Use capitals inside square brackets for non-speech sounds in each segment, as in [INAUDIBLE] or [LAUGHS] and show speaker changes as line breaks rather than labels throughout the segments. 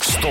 Stå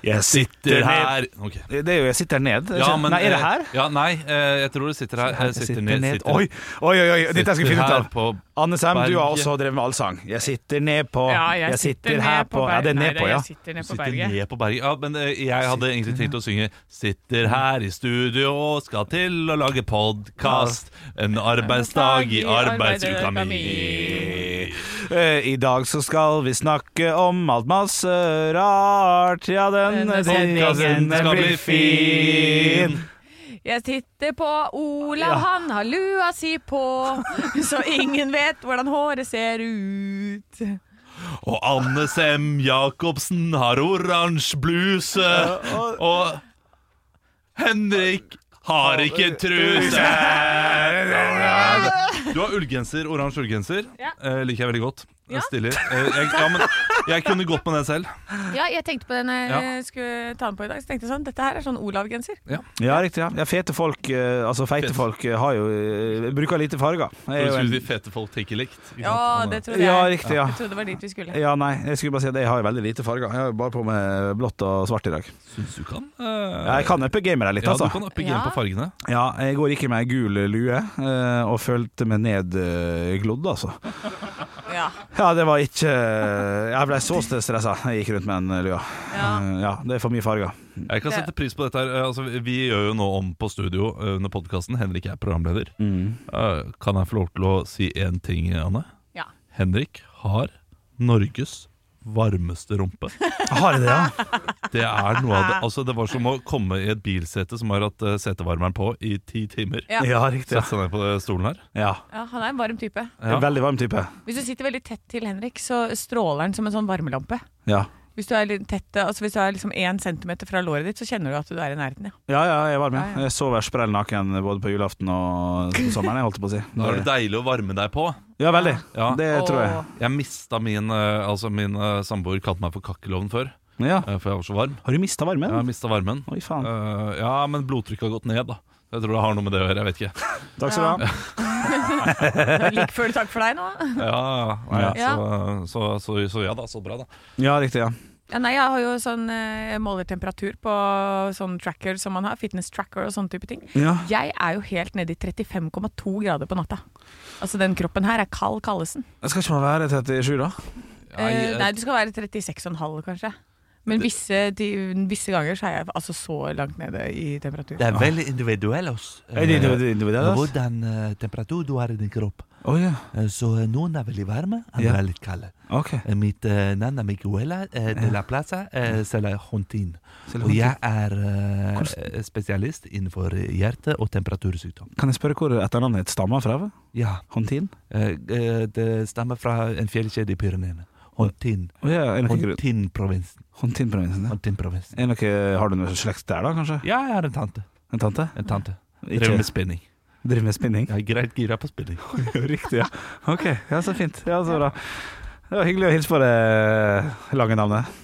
Jeg sitter her Ok.
Det er jo 'Jeg sitter ned'.
Ja, men,
Nei, er det
eh,
her?
Ja, nei, eh, jeg tror du sitter her. Jeg sitter, ned. Sitter,
Oi, oi, oi, oi. dette skal jeg finne ut
her
av.
På,
Anne Sem, du har
berget.
også drevet med allsang. Jeg sitter ned på
Ja, jeg, sitter,
her
ned på,
Ja, det er
Berg-
ned
Nei,
på, ja.
Jeg sitter ned på
sitter
berget.
ned på berget. Ja, men eh, jeg hadde egentlig tenkt å synge 'Sitter her i studio og skal til å lage podkast'. En arbeidsdag i arbeidsuka mi.
Eh, I dag så skal vi snakke om alt masse rart. Ja, denne
Denne sendingen
podkasten
skal
blir
bli
fin.
fin.
Jeg sitter på Olav, han har lua si på,
[LAUGHS]
så ingen vet hvordan håret ser ut.
Og Anne Sem Jacobsen har oransje bluse. Og Henrik har ikke truse. Du har ullgenser, oransje ullgenser.
Ja.
Eh, liker jeg veldig godt.
Ja.
Jeg Stiller. Eh, jeg, ja, men jeg kunne gått med den selv.
Ja, jeg tenkte på den jeg
Ja.
eh, skulle ta den på i dag, så tenkte jeg sånn, dette her er sånn Olav-genser.
Ja, riktig. ja. ja Fete folk, eh, altså feite
Fete.
folk, eh, har jo eh, bruker lite farger. Er
[LAUGHS] Jeg
jo
skulle
en-
si fete folk tenker likt. Ikke
Ja,
sant?
det trodde jeg.
Ja, riktig, ja.
Jeg trodde det var dit vi skulle.
Ja, nei, jeg skulle bare si at jeg har jo veldig lite farger. Jeg har jo bare på med blått og svart i dag.
Syns du kan? eh,
Jeg kan uppe gamere litt,
ja,
altså.
du kan uppe gamet
Ja.
på fargene.
Ja, jeg går ikke med ei gul lue eh, og følte meg nedglodd, altså.
Ja.
Ja, det var ikke eh, Jeg ble så stressa jeg gikk rundt med den lua.
Ja.
Eh, ja, det er for mye farger.
Jeg kan
Det-
sette pris på dette. her Eh, altså, Vi gjør jo nå om på studio eh, under podkasten. Henrik er programleder. Eh, Kan jeg få lov til å si én ting, Anne?
Ja.
Henrik har Norges varmeste rumpe.
Har jeg det, ja?
Det er noe av
[LAUGHS]
det Altså, det var som å komme i et bilsete som har hatt eh, setevarmeren på i ti timer.
Ja.
Ja, riktig.
Sette seg ned på eh, stolen her.
Ja.
Ja, han er en varm type.
En veldig varm type.
Hvis du sitter veldig tett til Henrik, så stråler han som en sånn varmelampe.
Ja.
Hvis du er litt tett, altså hvis du er liksom én centimeter fra låret ditt, så kjenner du at du er i nærheten, ja.
ja, ja, jeg var med.
Ja, ja.
Jeg sover sprell naken både på julaften og sommeren, jeg holdt på å si.
Da er det deilig å varme deg på.
Ja, veldig.
Ja.
Det tror jeg.
Åh.
Jeg mista min eh, Altså, min eh, samboer kalte meg for kakkelovn før,
Ja.
eh, for jeg var så varm.
Har du mista varmen?
Jeg har mista varmen.
Oi, faen.
Eh, ja, men blodtrykket har gått ned, da. Jeg tror det har noe med det å gjøre. Jeg vet
[LAUGHS]
ikke.
Takk skal du ha.
Like før takk for deg nå.
Ja, nei,
Ja.
Så, så, så, så ja da, så bra, da.
Ja, riktig. ja
Ja, nei, jeg har jo sånn eh, jeg måler temperatur på sånn tracker som man har, fitness tracker og sånne type ting.
Ja,
Jeg er jo helt nede i 35,2 grader på natta. Altså den kroppen her er kald kallesen.
Skal ikke man være 37, da?
Nei,
Eh,
eh,
nei, du skal være 36,5 kanskje. Men visse, de, visse ganger så er jeg altså så langt nede i temperatur.
Det er veldig individuell oss.
Er det individ- individuelt? altså?
Eh, Hvordan eh, temperatur du har i din kropp.
Å ja.
Eh, Så eh, noen er veldig varme, andre
Ja.
er litt kalde.
Ok.
Eh, Mitt eh, navn er Micaela eh, de la Plaza
Mm.
eh, Salajontin. Og jeg er eh, eh, spesialist innenfor hjerte- og temperatursykdom.
Kan jeg spørre hvor etternavnet ditt stammer fra? hva?
Ja,
Hontin?
eh, eh, det stammer fra en fjellkjede i Pyreneene. Hontin.
Å ja, er det noe grunn-
Hontin-provinsen.
Hontin-provinsen. ja.
Hontin-provinsen.
Er det noe- Har du noe slekt der, da, kanskje?
Ja, jeg har en tante.
En tante?
En tante. Driver
Ikke
med spinning.
driver med spinning?
Jeg er greit gira på spinning.
[LAUGHS] Riktig, ja. Ok, ja, så fint. Ja, så bra. Det var hyggelig å hilse på det lange navnet.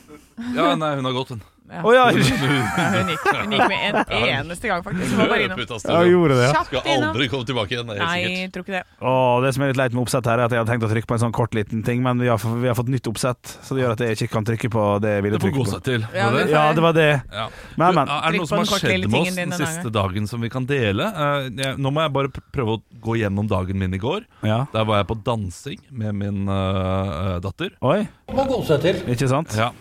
ja, nei, hun har gått, hun.
Ja.
Å ja!
Ja, hun, gikk, hun gikk med en eneste gang, faktisk. Hun var bare innom.
Løp ut av
Ja,
studio.
gjorde det, ja.
Kjapt
Skal
innom.
aldri komme tilbake igjen. Det er
Nei,
helt sikkert.
jeg tror ikke det.
Å, det som er litt leit med oppsett her, er at jeg hadde tenkt å trykke på en sånn kort, liten ting, men vi har, vi har fått nytt oppsett, så det gjør at jeg ikke kan trykke på det jeg ville
Det får gå
trykke på.
seg til.
Ja,
må det?
men-
Ja, det var det.
Ja.
Men,
Du,
men.
Er det
Trykk
noe som
på
har
den korte
skjedd
lille
med
tingen
oss
din
den
denne
siste dagen som vi kan dele? Eh, jeg, nå må jeg bare pr- prøve å gå gjennom dagen min i går.
Ja.
Der var jeg på dansing med min eh, datter.
Oi. Ikke sant?
Ja.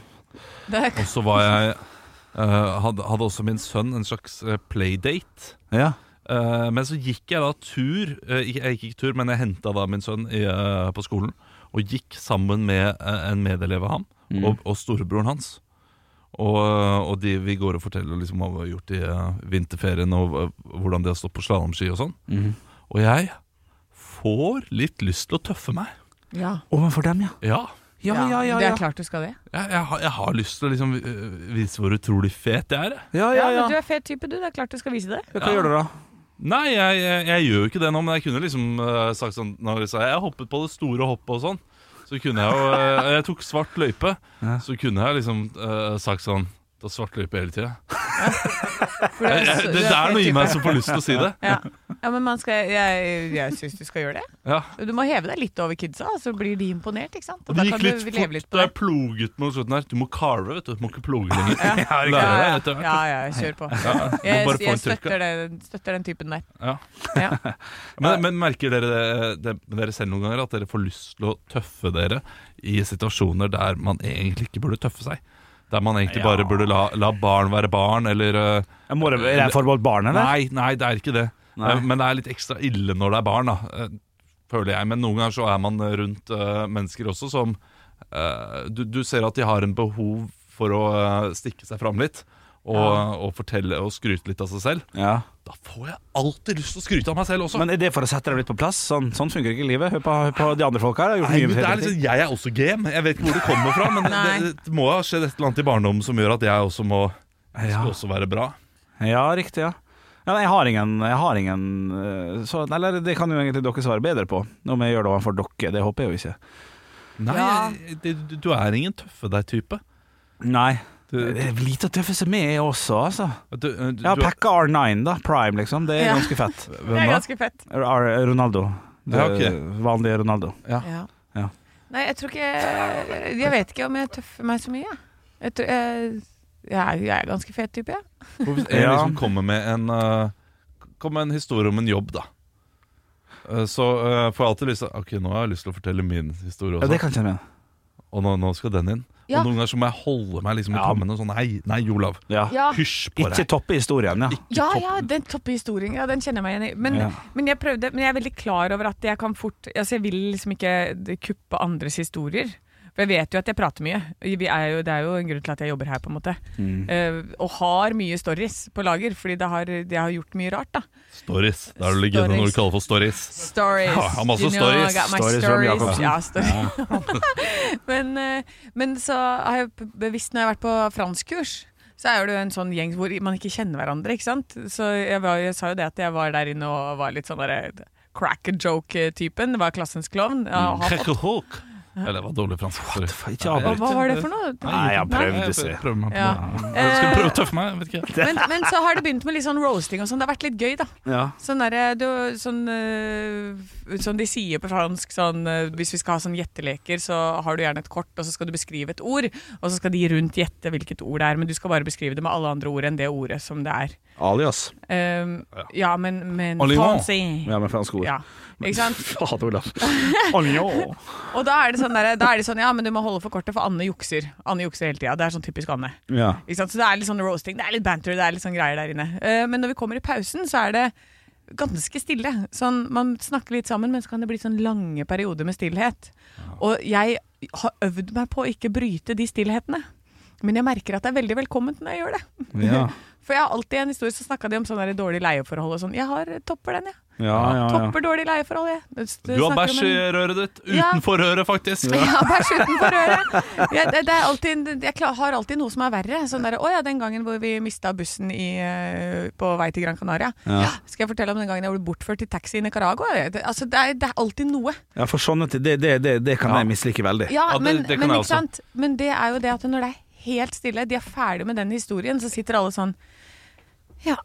det
Og så var jeg eh, hadde, hadde også min sønn en slags eh, playdate.
Ja.
Eh, men så gikk jeg da tur eh, ikke- Jeg gikk ikke tur, men jeg henta da min sønn i, eh, på skolen. Og gikk sammen med eh, en medelev av ham og, og storebroren hans. Og, eh, og de, vi går og forteller liksom, hva vi har gjort i eh, vinterferien, og eh, hvordan de har stått på slalåmski og sånn. Og jeg får litt lyst til å tøffe meg.
ja.
Overfor dem, ja.
Ja.
Ja, ja, ja.
Det
Ja,
er klart du skal det.
Jeg, jeg, har- jeg har lyst til å liksom, eh, vise hvor utrolig fet jeg er. jeg.
ja,
Ja,
ja, ja.
men Du er fet type, du. Det er klart du skal vise det.
Hva gjør du da?
Nei, jeg, jeg, jeg gjør jo ikke det nå, men jeg kunne liksom eh, sagt sånn Når jeg sa jeg hoppet på det store hoppet og sånn, så kunne jeg jo eh, Jeg tok svart løype,
Ja.
så kunne jeg liksom eh, sagt sånn Det er svart løype hele tida.
For du
Det
er så- du er
der er
sånn
noe i
type.
meg som får lyst til å si det.
ja. [LAUGHS] ja, men man skal Jeg, jeg syns du skal gjøre det.
Ja.
Du må heve deg litt over kidsa, så blir de imponert. ikke sant? Og
Det
da
gikk
kan
litt
du
fort
leve litt på
da jeg
det.
ploget mot slutten her. Du må carve, vet du. Du må ikke ploge lenger.
Ja,
Lære
Ja,
deg
ja,
etter hvert.
ja, ja, kjør på.
Du må
Jeg,
bare få
jeg
en tørke.
støtter, den, støtter den typen der.
Ja.
Ja.
Men, men merker dere det, det med dere selv noen ganger at dere får lyst til å tøffe dere i situasjoner der man egentlig ikke burde tøffe seg? Der man egentlig
Ja.
bare burde la, la barn være barn, eller eh,
Jeg må, er det forbeholdt barn, eller?
Nei, nei, det er ikke det.
Nei.
Eh, Men det er litt ekstra ille når det er barn, da. eh, Føler jeg. Men noen ganger så er man rundt eh, mennesker også som eh, du, du ser at de har en behov for å eh, stikke seg fram litt. Og, og fortelle og skryte litt av seg selv.
Ja.
Da får jeg alltid lyst til å skryte av meg selv også.
Men er det for å sette deg litt på plass? Sånn, sånn funker ikke livet. Hør på, hør på de andre folka her. har gjort
Nei,
mye
men det er
hele
liksom,
tiden.
jeg er også game. Jeg vet ikke hvor det kommer fra,
[LAUGHS]
men
Nei.
det, det må ha skjedd et eller annet i barndommen som gjør at jeg også må jeg
Ja.
skal også være bra.
Ja, riktig, ja. ja nei, jeg har ingen, jeg har ingen eh, så, Eller det kan jo egentlig dere svare bedre på, om jeg gjør det overfor dere. Det håper jeg jo ikke.
Nei,
Ja.
jeg- det, du er ingen tøffe deg-type.
Nei.
Du,
Det er lite å tøffe seg med jeg også, altså.
du, du,
Jeg har
du,
packa R9, da. Prime, liksom. Det er
Ja.
ganske fett.
Det
hvem
er
da?
ganske fett.
R Ronaldo. Det
Ja, ok.
Vanlige Ronaldo.
Ja.
Ja.
Nei, jeg tror ikke Jeg vet ikke om jeg tøffer meg så mye. jeg. Jeg, tror, jeg, jeg, er, jeg er ganske fet type, jeg.
Hvorfor- En
Ja.
liksom kommer med en eh, Kom med en historie om en jobb, da. Eh, Så eh, får jeg alltid lyst til Ok, nå har jeg lyst til å fortelle min historie
Ja,
også.
det kan ikke jeg mene.
Og nå, nå skal den inn.
Ja.
Og noen ganger så må jeg holde meg liksom i
Ja.
kammen og sånn Nei, nei, Olav.
Ja.
Ja,
Hysj på
Ikke
deg.
toppe historien, ja.
ja, ja den toppe historien. Ja, den kjenner jeg meg igjen i. Men,
Ja.
men jeg prøvde Men jeg er veldig klar over at jeg kan fort Altså, jeg vil liksom ikke kuppe andres historier. For jeg vet jo at jeg prater mye. Vi er jo, det er jo en grunn til at jeg jobber her, på en måte.
Mm.
Eh, og har mye stories på lager, fordi det har, jeg har gjort mye rart, da.
Stories. Da er du legende når
Stories.
du kaller for stories.
Stories.
Ja, han har også
You know, I
stories.
got my
Stories om Jacobsen.
Ja, stories. men, eh, men så har jeg p- bevisst når jeg har vært på franskkurs, så er det jo en sånn gjeng hvor man ikke kjenner hverandre, ikke sant? Så jeg, var, jeg sa jo det at jeg var der inne og var litt sånn derre crack a joke-typen. Var klassens klovn. Jeg
[LAUGHS]
har fått-
Krekelhok. Eller det var dårlig fransk. Sorry.
Ikke
Hva
avbryt.
hva var det for noe?
Nei, han prøvde
Jeg
seg.
prøver meg på
Ja.
det. Jeg skal prøve
Eh,
å tøffe meg. jeg Vet ikke.
men, men så har det begynt med litt sånn roasting og sånn. Det har vært litt gøy, da.
Ja.
Sånn derre du- sånn, eh, sånn de sier på fransk sånn, eh, Hvis vi skal ha sånn gjetteleker, så har du gjerne et kort, og så skal du beskrive et ord. Og så skal de rundt gjette hvilket ord det er, men du skal bare beskrive det med alle andre ord enn det ordet som det er.
Alias.
Um, ja, men, men
Oligon.
fancy.
Ja, med franske ord.
Ja, ikke
[LAUGHS]
sant?
Fader,
[LAUGHS]
Olav. Oljo.
Og da er, det sånn derre- da er de sånn Ja, men du må holde for kortet, for Anne jukser. Anne jukser hele tida. Det er sånn typisk Anne.
Ja.
Ikke sant? Så det er litt sånn roasting, det er litt banter, det er litt sånn greier der inne. Eh, men når vi kommer i pausen, så er det ganske stille. Sånn, man snakker litt sammen, men så kan det bli sånn lange perioder med stillhet. Og jeg har øvd meg på å ikke bryte de stillhetene. Men jeg merker at det er veldig velkomment når jeg gjør det.
Ja.
For jeg har alltid en historie så snakka de om sånn der dårlig leieforhold og sånn. Jeg har topper den, jeg.
Ja, ja, ja.
Topper dårlig leieforhold, jeg.
Ah, Du har bæsj i røret ditt.
Ja.
Utenfor røret, faktisk.
Ja, bæsj utenfor øret. Jeg, det, det er alltid, jeg klar, har alltid noe som er verre. Sånn der, 'Å ja, den gangen hvor vi mista bussen i, eh, på vei til Gran Canaria'.
Ja.
Ja, skal jeg fortelle om den gangen jeg ble bortført i taxi i Nicaragua? Det, altså, det, er, det er alltid noe.
Ja, for sånne ting, det, det, det, det kan jeg mislike veldig.
Ja,
Ja, det-
men,
det kan
men,
jeg
ikke
også.
sant? men det er jo det at når det er helt stille, de er ferdig med den historien, så sitter alle sånn Ja.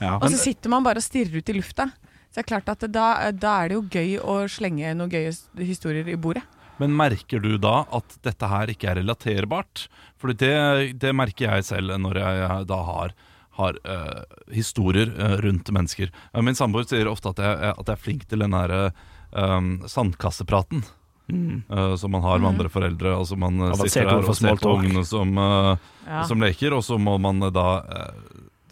Ja.
Og så sitter man bare og stirrer ut i lufta. Så det er klart at da, da er det jo gøy å slenge noen gøye s- historier i bordet.
Men merker du da at dette her ikke er relaterbart? For det, det merker jeg selv når jeg da har, har eh, historier eh, rundt mennesker. Eh, Min samboer sier ofte at jeg, at jeg er flink til den derre eh, sandkassepraten.
Mm.
eh, som man har
Mhm.
med andre foreldre. Altså man eh,
Avansert
sitter
ord
der
for
og ser
small
på
talk.
ungene som, eh,
Ja.
som leker, og så må man eh, da eh,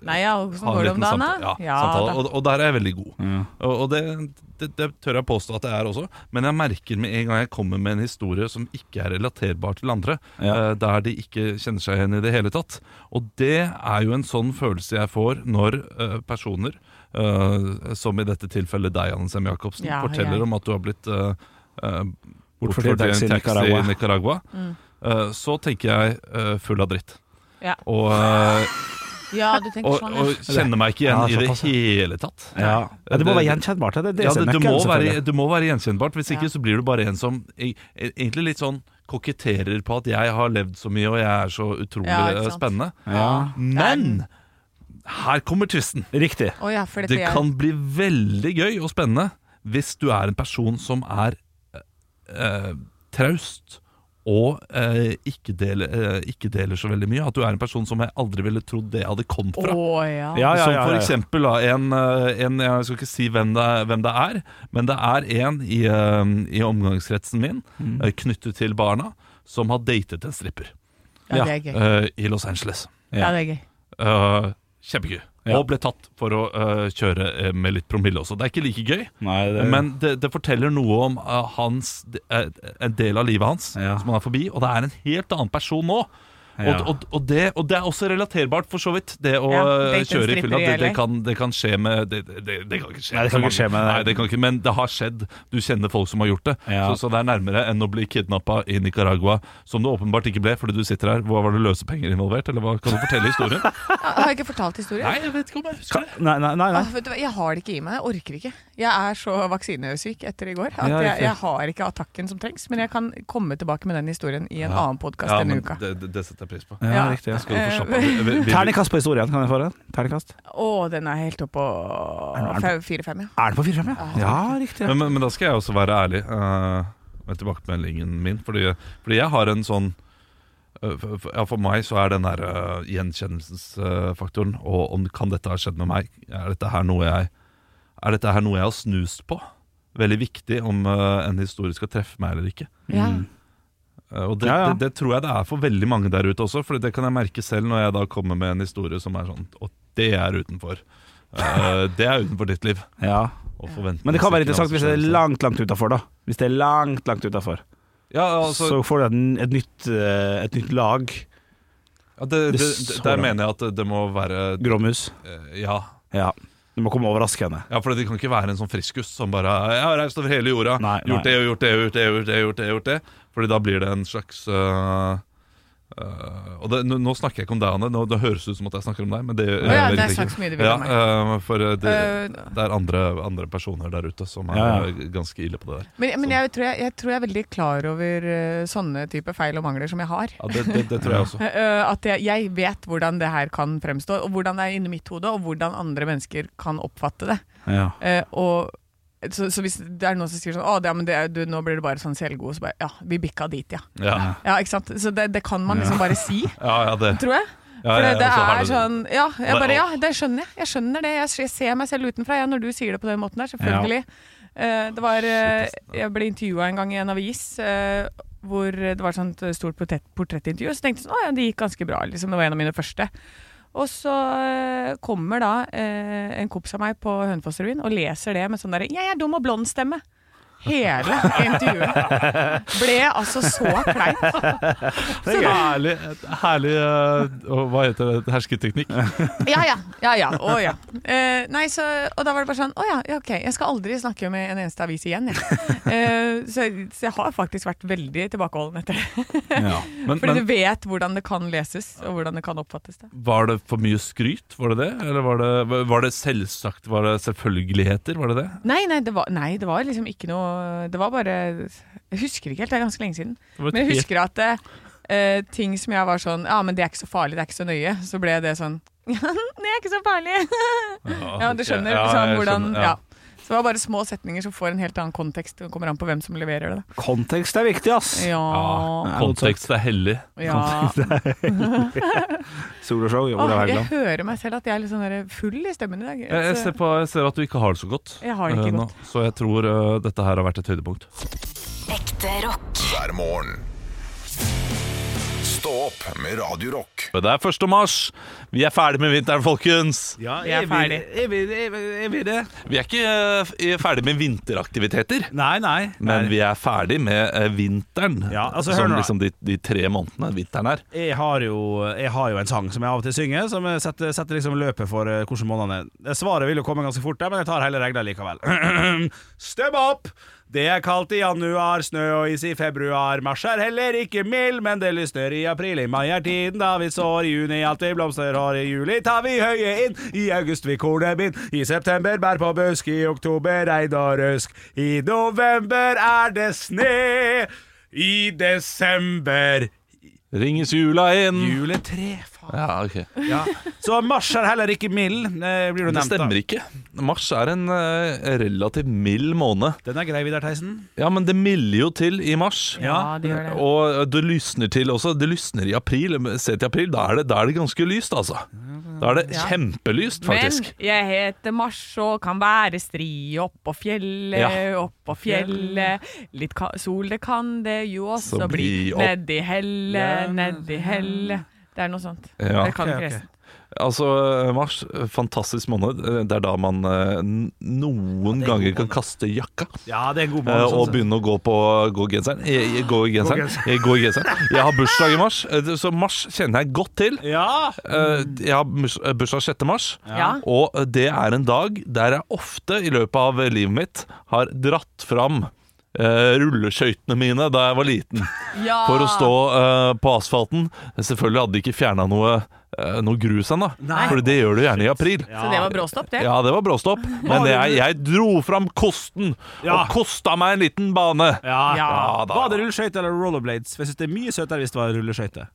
Nei, ja, åssen
ha en
går det om
liten
dagen,
samtale.
da?
Ja, samtale.
da.
Og, og der er jeg veldig god.
Ja.
Og, og det, det, det tør jeg påstå at det er også. Men jeg merker med en gang jeg kommer med en historie som ikke er relaterbar til andre,
Ja.
eh, der de ikke kjenner seg igjen i det hele tatt. Og det er jo en sånn følelse jeg får når eh, personer, eh, som i dette tilfellet deg, Anne Sem Jacobsen,
Ja,
forteller
jeg.
om at du har blitt eh, eh,
Bortført i
bortført i
taxi i
en taxi i
Nicaragua.
Nicaragua,
Mm.
eh, så tenker jeg eh, full av dritt.
Ja.
Og, eh,
Ja, du tenker
og,
sånn,
og
ja.
kjenner meg ikke igjen
Ja,
i det
såpass, ja.
hele tatt.
Ja. Ja, det må være gjenkjennbart. Det, det,
Ja,
som er
det, det, må
nøkkelen,
være,
selvfølgelig.
det må være gjenkjennbart. Hvis ikke
Ja.
så blir du bare en som e- e- egentlig litt sånn koketterer på at jeg har levd så mye og jeg er så utrolig
Ja, ikke
eh,
sant.
spennende.
ja.
Men Her kommer tvisten.
Riktig.
Å ja, for dette
Det
jeg
kan bli veldig gøy og spennende hvis du er en person som er eh, traust og eh, ikke, deler, eh, ikke deler så veldig mye. At du er en person som jeg aldri ville trodd det hadde kommet fra.
Å ja.
Ja, ja, ja,
Som for
ja.
eksempel da, en, eh, en Jeg skal ikke si hvem det, er- hvem det er, men det er en i, eh, i omgangskretsen min
Mm.
eh, knyttet til barna som har datet en stripper
ja, det er gøy.
eh, i Los Angeles.
Ja, det er gøy.
Eh, Kjempegøy.
Ja.
Og ble tatt for å eh, kjøre eh, med litt promille også. Det er ikke like gøy,
Nei, det
men det, det forteller noe om eh, hans, eh, en del av livet hans
Ja.
som han er forbi, og det er en helt annen person nå.
Ja.
Og, og, og, det, og det er også relaterbart, for så vidt. Det å
Ja,
eh,
date en
kjøre i
stripper
fylla, det,
i
det,
LA.
kan- det kan skje med Det, det, det kan ikke skje,
Nei, det
med
kan
så
ikke skje
mange.
med-
Nei, det kan ikke, men det har skjedd. Du kjenner folk som har gjort det.
Ja.
Så, så det er nærmere enn å bli kidnappa i Nicaragua, som det åpenbart ikke ble fordi du sitter her. Hva Var det løsepenger involvert, eller hva? Kan du fortelle historien?
[LAUGHS] Jeg har ikke fortalt historien.
Nei, jeg vet ikke om jeg husker det.
Nei, nei, nei. nei.
Åh, vet du hva, jeg har det ikke i meg. Jeg orker ikke. Jeg er så vaksinesyk etter i går at
Ja,
jeg,
riktig.
jeg har ikke attakken som trengs. Men jeg kan komme tilbake med den historien i en Eh, annen podkast
Ja,
denne
men
uka.
det, det, det setter jeg pris på.
Ja,
Ja.
riktig. Ja.
Skal du få slappe av? Vi- vi- vi-
Ternekast på historien, kan jeg få det? Ternekast.
Å, den er helt oppe
Er
på fire-fem, ja.
Er det på 4-5, ja? Ja, riktig.
Men, men, men da skal jeg også være ærlig eh, med tilbakemeldingen min. Fordi, fordi jeg har en sånn eh, for, for- ja, for meg så er den der eh, gjenkjennelsesfaktoren Og om kan dette ha skjedd med meg? Er dette her noe jeg, er dette her noe jeg har snust på? Veldig viktig om eh, en historie skal treffe meg eller ikke.
ja.
Mm.
Eh, Og det,
Ja, ja.
Det, det tror jeg det er for veldig mange der ute også, for det kan jeg merke selv når jeg da kommer med en historie som er sånn Og det er utenfor. Eh, det er utenfor ditt liv.
Ja.
Og forventninger
Men det kan være
til
interessant hvis det er
ansvarsfølelse.
langt, langt utafor, da. Hvis det er langt, langt utafor.
ja, altså,
så får du et, et, nytt, eh, et nytt lag.
Ja, det,
Det er
det, det,
så
der
rart.
mener jeg at det må være
Gråmus.
eh, Ja.
Ja. Du må komme overraskende.
Ja, for det kan ikke være en sånn friskus som bare Jeg har reist over hele jorda,
Nei, nei.
gjort det og gjort det og gjort det og gjort det, og gjort det, og gjort det. Fordi da blir det en slags øh, øh, Og det, nå, nå snakker jeg ikke om deg, Anne. Nå, det høres ut som at jeg snakker om deg, men det
Å ja,
jeg
det
vet
er
ikke.
sagt så mye du vil
Ja,
om meg.
øh, for det,
Øh,
det er andre, andre personer der ute som er
Ja, ja.
øh, ganske ille på det der.
Men, men jeg, tror jeg, jeg tror jeg er veldig klar over eh, sånne type feil og mangler som jeg har.
Ja, det, det, det tror jeg også.
Eh, eh, at jeg, jeg vet hvordan det her kan fremstå, og hvordan det er inni mitt hode, og hvordan andre mennesker kan oppfatte det.
Ja.
Eh, og så, så hvis det er noen som sier sånn Å, det, ja, men det, er- du, nå blir du bare sånn selvgod. Så bare Ja, vi bikka dit, ja.
[LAUGHS] Ja,
ja ikke sant? Så det, det kan man liksom bare si,
ja, ja det
tror jeg.
ja, ja,
For det, det
ja, så
er
det-
sånn Ja, jeg
Og-
bare Ja, det skjønner jeg. Jeg skjønner det. Jeg, jeg ser meg selv utenfra, ja, når du sier det på den måten der. Selvfølgelig. Eh, det var eh,
altså.
Jeg ble intervjua en gang i en avis. eh, hvor det var et sånt eh, stort portrett, portrettintervju. Så tenkte jeg sånn, å ja, det gikk ganske bra. liksom, Det var en av mine første. Og så eh, kommer da eh, en kops av meg på Hønefossrevyen og leser det med sånn derre 'Jeg er dum og blond stemme'. Hele intervjuet ble altså så
[LAUGHS]
kleint. Så da,
Herlig, eh, herlig øh, og Hva heter det? Hersketeknikk?
ja ja. ja, ja, å, ja. Eh, nei, så, og da var det bare sånn Å ja, ja, ok, jeg skal aldri snakke med en eneste avis igjen, jeg. [LAUGHS] Eh, så, så jeg har faktisk vært veldig tilbakeholden etter det.
Ja.
Men,
Fordi du vet hvordan det kan leses, og hvordan det kan oppfattes. Det.
Var det for mye skryt? Var det det? Eller var det, var det selvsagt? Var det selvfølgeligheter? Var det det?
Nei, nei det, var, nei, det var liksom ikke noe Det var bare Jeg husker ikke helt, det er ganske lenge siden.
det var et
Men jeg
helt-
husker at eh, ting som jeg var sånn Ja, men det er ikke så farlig, det er ikke så nøye. Så ble det sånn [LAUGHS] Ja, det er ikke så farlig. ja, du skjønner
Ja,
liksom,
jeg
hvordan
skjønner,
ja.
ja.
Så det var bare små setninger som får en helt annen kontekst. Det kommer an på hvem som leverer det. da.
Kontekst er viktig, ass.
Ja,
[LAUGHS] Ja, kontekst er hellig.
ja.
Soloshow.
Åh,
Olav
jeg
Haugland.
hører meg selv at jeg er litt sånn der full i stemmen i dag.
Jeg, jeg, ser på, jeg ser at du ikke har det så godt.
Jeg har det ikke
eh, nå,
godt.
Så jeg tror eh, dette her har vært et høydepunkt.
Ekte rock.
hver morgen. Stå opp med Radio Rock.
Men det er 1. mars. Vi er ferdig med vinteren, folkens.
Ja,
Jeg er ferdig.
Er vi, er vi, er vi det?
Vi er ikke eh, ferdig med vinteraktiviteter.
Nei, nei.
Men
nei.
vi er ferdig med eh, vinteren,
Ja, altså, hør
som
nå da.
liksom de, de tre månedene vinteren er.
jeg, har jo, jeg har jo en sang som jeg av og til synger, som jeg setter, setter liksom løpet for eh, hvordan månedene er. Svaret vil jo komme ganske fort, der, men jeg tar hele regla likevel. [CLEARS THROAT] Støm opp! Det er kaldt i januar, snø og is i februar. Mars er heller ikke mild, men det lysner i april. I mai er tiden da vi sår, i juni alt vi blomstrer har, i juli tar vi høye inn, i august vi kornebind, i september bær på busk, i oktober regn og røsk, i november er det sne, i desember
Ringes jula inn?
Juletre, faen.
Ja, ok
Ja. Så mars er heller ikke mild, eh, blir du
Det
nevnt. da.
stemmer ikke. Mars er en eh, relativt mild måned.
Den er grei, Vidar Theisen.
Ja, men det milder jo til i mars.
Ja, det gjør det.
Og eh, det lysner til også. Det lysner i april. Se til april, da er det, da er det ganske lyst, altså. Da er det
Ja.
kjempelyst, faktisk.
Men jeg heter Mars og kan være stri oppå fjellet,
Ja.
oppå fjellet. Litt ka sol, det kan det jo også
Så
bli.
bli opp-
Nedi hellet,
Ja.
nedi hellet. Det er noe sånt.
Ja.
Det kan
Ok, ok.
kresen.
Altså, mars, fantastisk måned. Det er da man eh, n- noen ganger kan kaste jakka.
Ja, det er en god
eh,
måned.
og
sånn sett.
begynne å gå på gå i genseren. Jeg, jeg, gå i genseren.
genseren.
Jeg, går i genseren. jeg har bursdag i mars, eh, så mars kjenner jeg godt til.
Ja!
Eh,
Mm.
Jeg har burs- eh, bursdag 6. mars.
Ja.
Og eh, det er en dag der jeg ofte i løpet av eh, livet mitt har dratt fram eh, rulleskøytene mine da jeg var liten,
ja.
for å stå eh, på asfalten. Selvfølgelig hadde de ikke fjerna noe, eh, noe grus ennå,
Nei.
for det gjør du gjerne i april.
Så det var bråstopp, det.
Ja, det var bråstopp, men jeg, jeg dro fram kosten
Ja.
og kosta meg en liten bane.
Ja.
Ja.
Ja, da.
Var det rulleskøyter eller rollerblades? For Jeg synes det er mye søtere hvis det var rulleskøyter.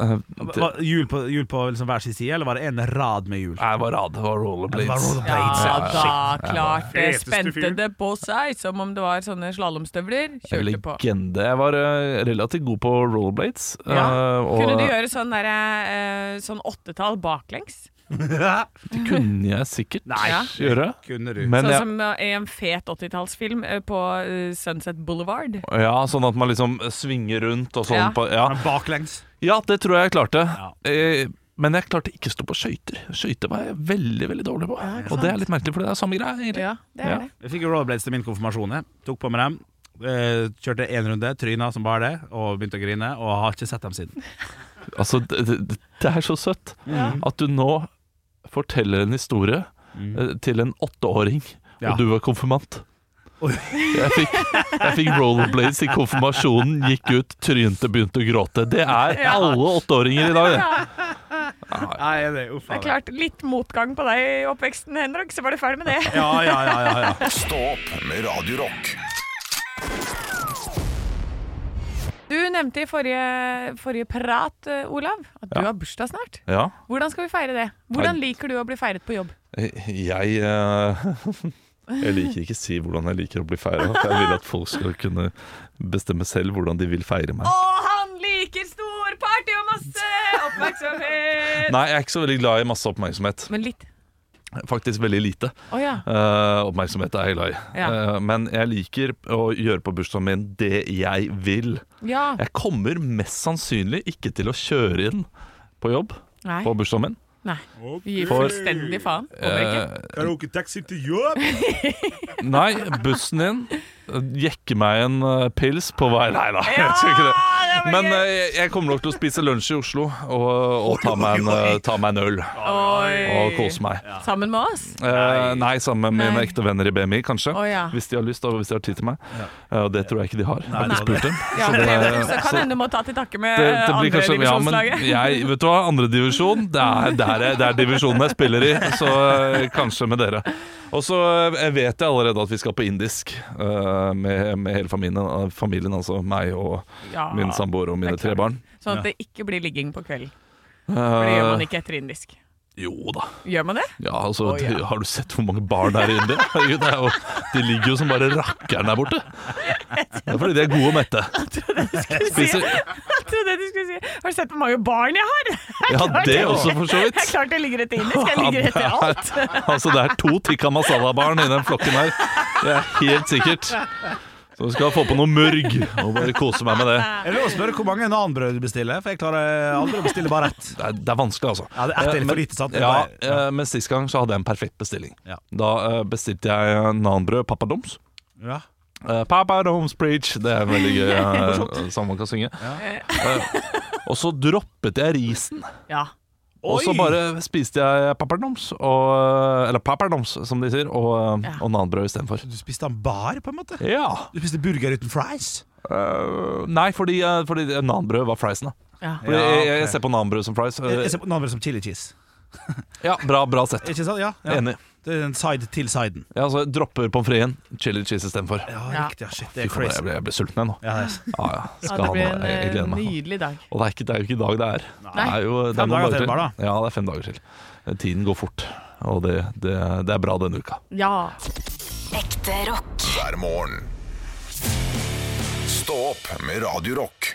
Eh, det,
Var Hjul på, hjul på liksom hver sin side, eller var det en rad med hjul?
jeg var rad,
Det
det var
var
rollerblades.
rollerblades.
Ja da, klart det.
Feteste
Spente
fyren.
det på seg som om det var sånne slalåmstøvler. Kjørte på.
Legende. Jeg var eh, relativt god på rollerblades.
Ja.
eh, og-
Kunne du gjøre sånn derre eh, sånn åttetall baklengs?
Det kunne jeg sikkert
Nei.
Ja.
gjøre.
[LAUGHS] Kunne du?
Men
sånn
jeg,
som eh, i en fet 80-tallsfilm eh, på eh, Sunset Boulevard.
ja, sånn at man liksom svinger rundt og sånn.
Ja.
På, ja.
Men baklengs.
ja, det tror jeg jeg klarte.
Ja.
Eh, Men jeg klarte ikke å stå på skøyter. Skøyter var jeg veldig veldig dårlig på. og det er litt merkelig, for det er samme greie. egentlig.
Ja, det er
Ja.
det.
Jeg fikk jo rollerblades til min konfirmasjon. Jeg. Tok på meg dem. eh, Kjørte én runde, tryna som bare det, og begynte å grine. Og har ikke sett dem siden. Mm.
Altså, det, det, det er så søtt at du nå forteller en historie eh, til en åtteåring,
Ja.
og du var konfirmant. Jeg fikk, jeg fikk rollerblades i konfirmasjonen, gikk ut, trynte, begynte å gråte. Det er alle åtteåringer i dag. det.
Nei, det er
Det er klart, litt motgang på deg i oppveksten, Henrik, så var du ferdig med [LAUGHS] det.
Ja, ja, ja, ja, ja.
Stå opp med Radio Rock.
Du nevnte i forrige, forrige prat, eh, Olav, at du har bursdag snart.
Ja.
Hvordan skal vi feire det? Hvordan liker du å bli feiret på jobb?
Jeg eh, [LAUGHS] Jeg liker ikke å si hvordan jeg liker å bli feira. Jeg vil at folk skal kunne bestemme selv hvordan de vil feire meg.
Og han liker stor party og masse oppmerksomhet!
Nei, jeg er ikke så veldig glad i masse oppmerksomhet.
Men litt.
Faktisk veldig lite.
Å ja.
Eh, oppmerksomhet er jeg glad i.
Ja.
Eh, men jeg liker å gjøre på bursdagen min det jeg vil.
Ja.
Jeg kommer mest sannsynlig ikke til å kjøre inn på jobb
Nei.
på bursdagen min.
Nei. Vi gir
For-
fullstendig faen. Kommer ikke.
Karaoketaxi til jobb!
Eh, [LAUGHS] Nei, bussen din jekker meg en eh, pils på vei Nei da, [LAUGHS] jeg skal ikke det. Men eh, jeg- jeg kommer nok til å spise lunsj i Oslo og, og ta, meg en, eh, ta meg en øl og
Oi.
kose meg.
Sammen med oss?
Eh, nei, sammen med mine
Nei.
ekte venner i BMI, kanskje.
Å, ja.
Hvis de har lyst og hvis de har tid til meg. Eh, Og det tror jeg ikke de har. Jeg har
Nei,
ikke
det-
spurt dem.
Ja,
Så
det,
det-
så kan
så-
hende du må ta til takke med
det, det blir kanskje, ja, men
Eh, andredivisjonslaget.
jeg, vet du hva, andredivisjon, det er, det, er, det er divisjonen jeg spiller i, så eh, kanskje med dere. Og så eh, vet jeg allerede at vi skal på indisk eh, med, med hele familien, eh, familien, altså meg og
[LAUGHS] Ja,
min samboer og mine
Ah, det er
tre
klart.
barn.
sånn at det ikke blir ligging på kvelden. For det gjør
Eh,
man ikke etter indisk.
jo da.
Gjør man det?
Ja, altså,
Å, ja.
det- Har du sett hvor mange barn det er i India? [LAUGHS] Herregud, det er jo, de ligger jo som bare rakkeren der
[LAUGHS]
borte. Det er fordi de er gode og mette. Spiser,
[LAUGHS] Jeg trodde du skulle si Har du sett hvor mange barn jeg har?
ja,
[LAUGHS]
det også, for så vidt.
Jeg er klart jeg ligger etter
[LAUGHS]
indisk, jeg ligger etter alt.
Altså det er to tikka masala-barn i den flokken her. Det er helt sikkert. Så vi skal få på noe mørg og bare kose meg med det.
Jeg vil også spørre hvor mange nanbrød du bestiller, for jeg klarer aldri å bestille bare ett.
Det er, det er vanskelig, altså.
Ja, det er ett
Eh,
eller
men-
for lite, sant? Det er
Ja,
bare-
eh, men sist gang så hadde jeg en perfekt bestilling.
Ja.
Da eh, bestilte jeg nanbrød pappadoms.
Ja.
Eh, Papadoms preach! Det er en veldig gøy
[LAUGHS]
eh, sang man kan synge. Eh, Og så droppet jeg risen,
Ja.
og så
Oi!
bare spiste jeg papadoms, og, eh, eller papadoms som de sier, og, eh,
Ja.
og nanbrød istedenfor.
Du spiste han bar, på en måte?
Ja.
Du spiste burger uten fries?
Eh, nei, fordi, eh, fordi nanbrød var friesen. da
ja.
fordi
Ja,
jeg,
ok.
jeg ser på nanbrød som fries. eh,
Jeg jeg ser på nanbrød som chili cheese.
Ja, bra, bra sett.
Ikke sant? Ja, ja.
Enig.
Det er en side til siden.
Ja, altså, dropper pommes fritesen, chili cheese istedenfor.
Ja,
Ja.
riktig. Ja, shit,
Fy
det er
faen, Jeg
crazy.
blir, jeg blir sulten, jeg nå.
Ja, det er-
Ja, ja.
Ja,
Skal
det
ha
blir
noe.
en
Jeg, jeg gleder
eh,
meg. altså.
nydelig dag.
Og det er, ikke, det er jo ikke i dag det er. Det
Nei.
er jo, det
Fem dager
er noen dager
til,
til.
bare da.
Ja, det er fem dager til. Tiden går fort, og det, det, det er bra denne uka.
Ja.
Ekte rock.
hver morgen. Stå opp med Radio Rock.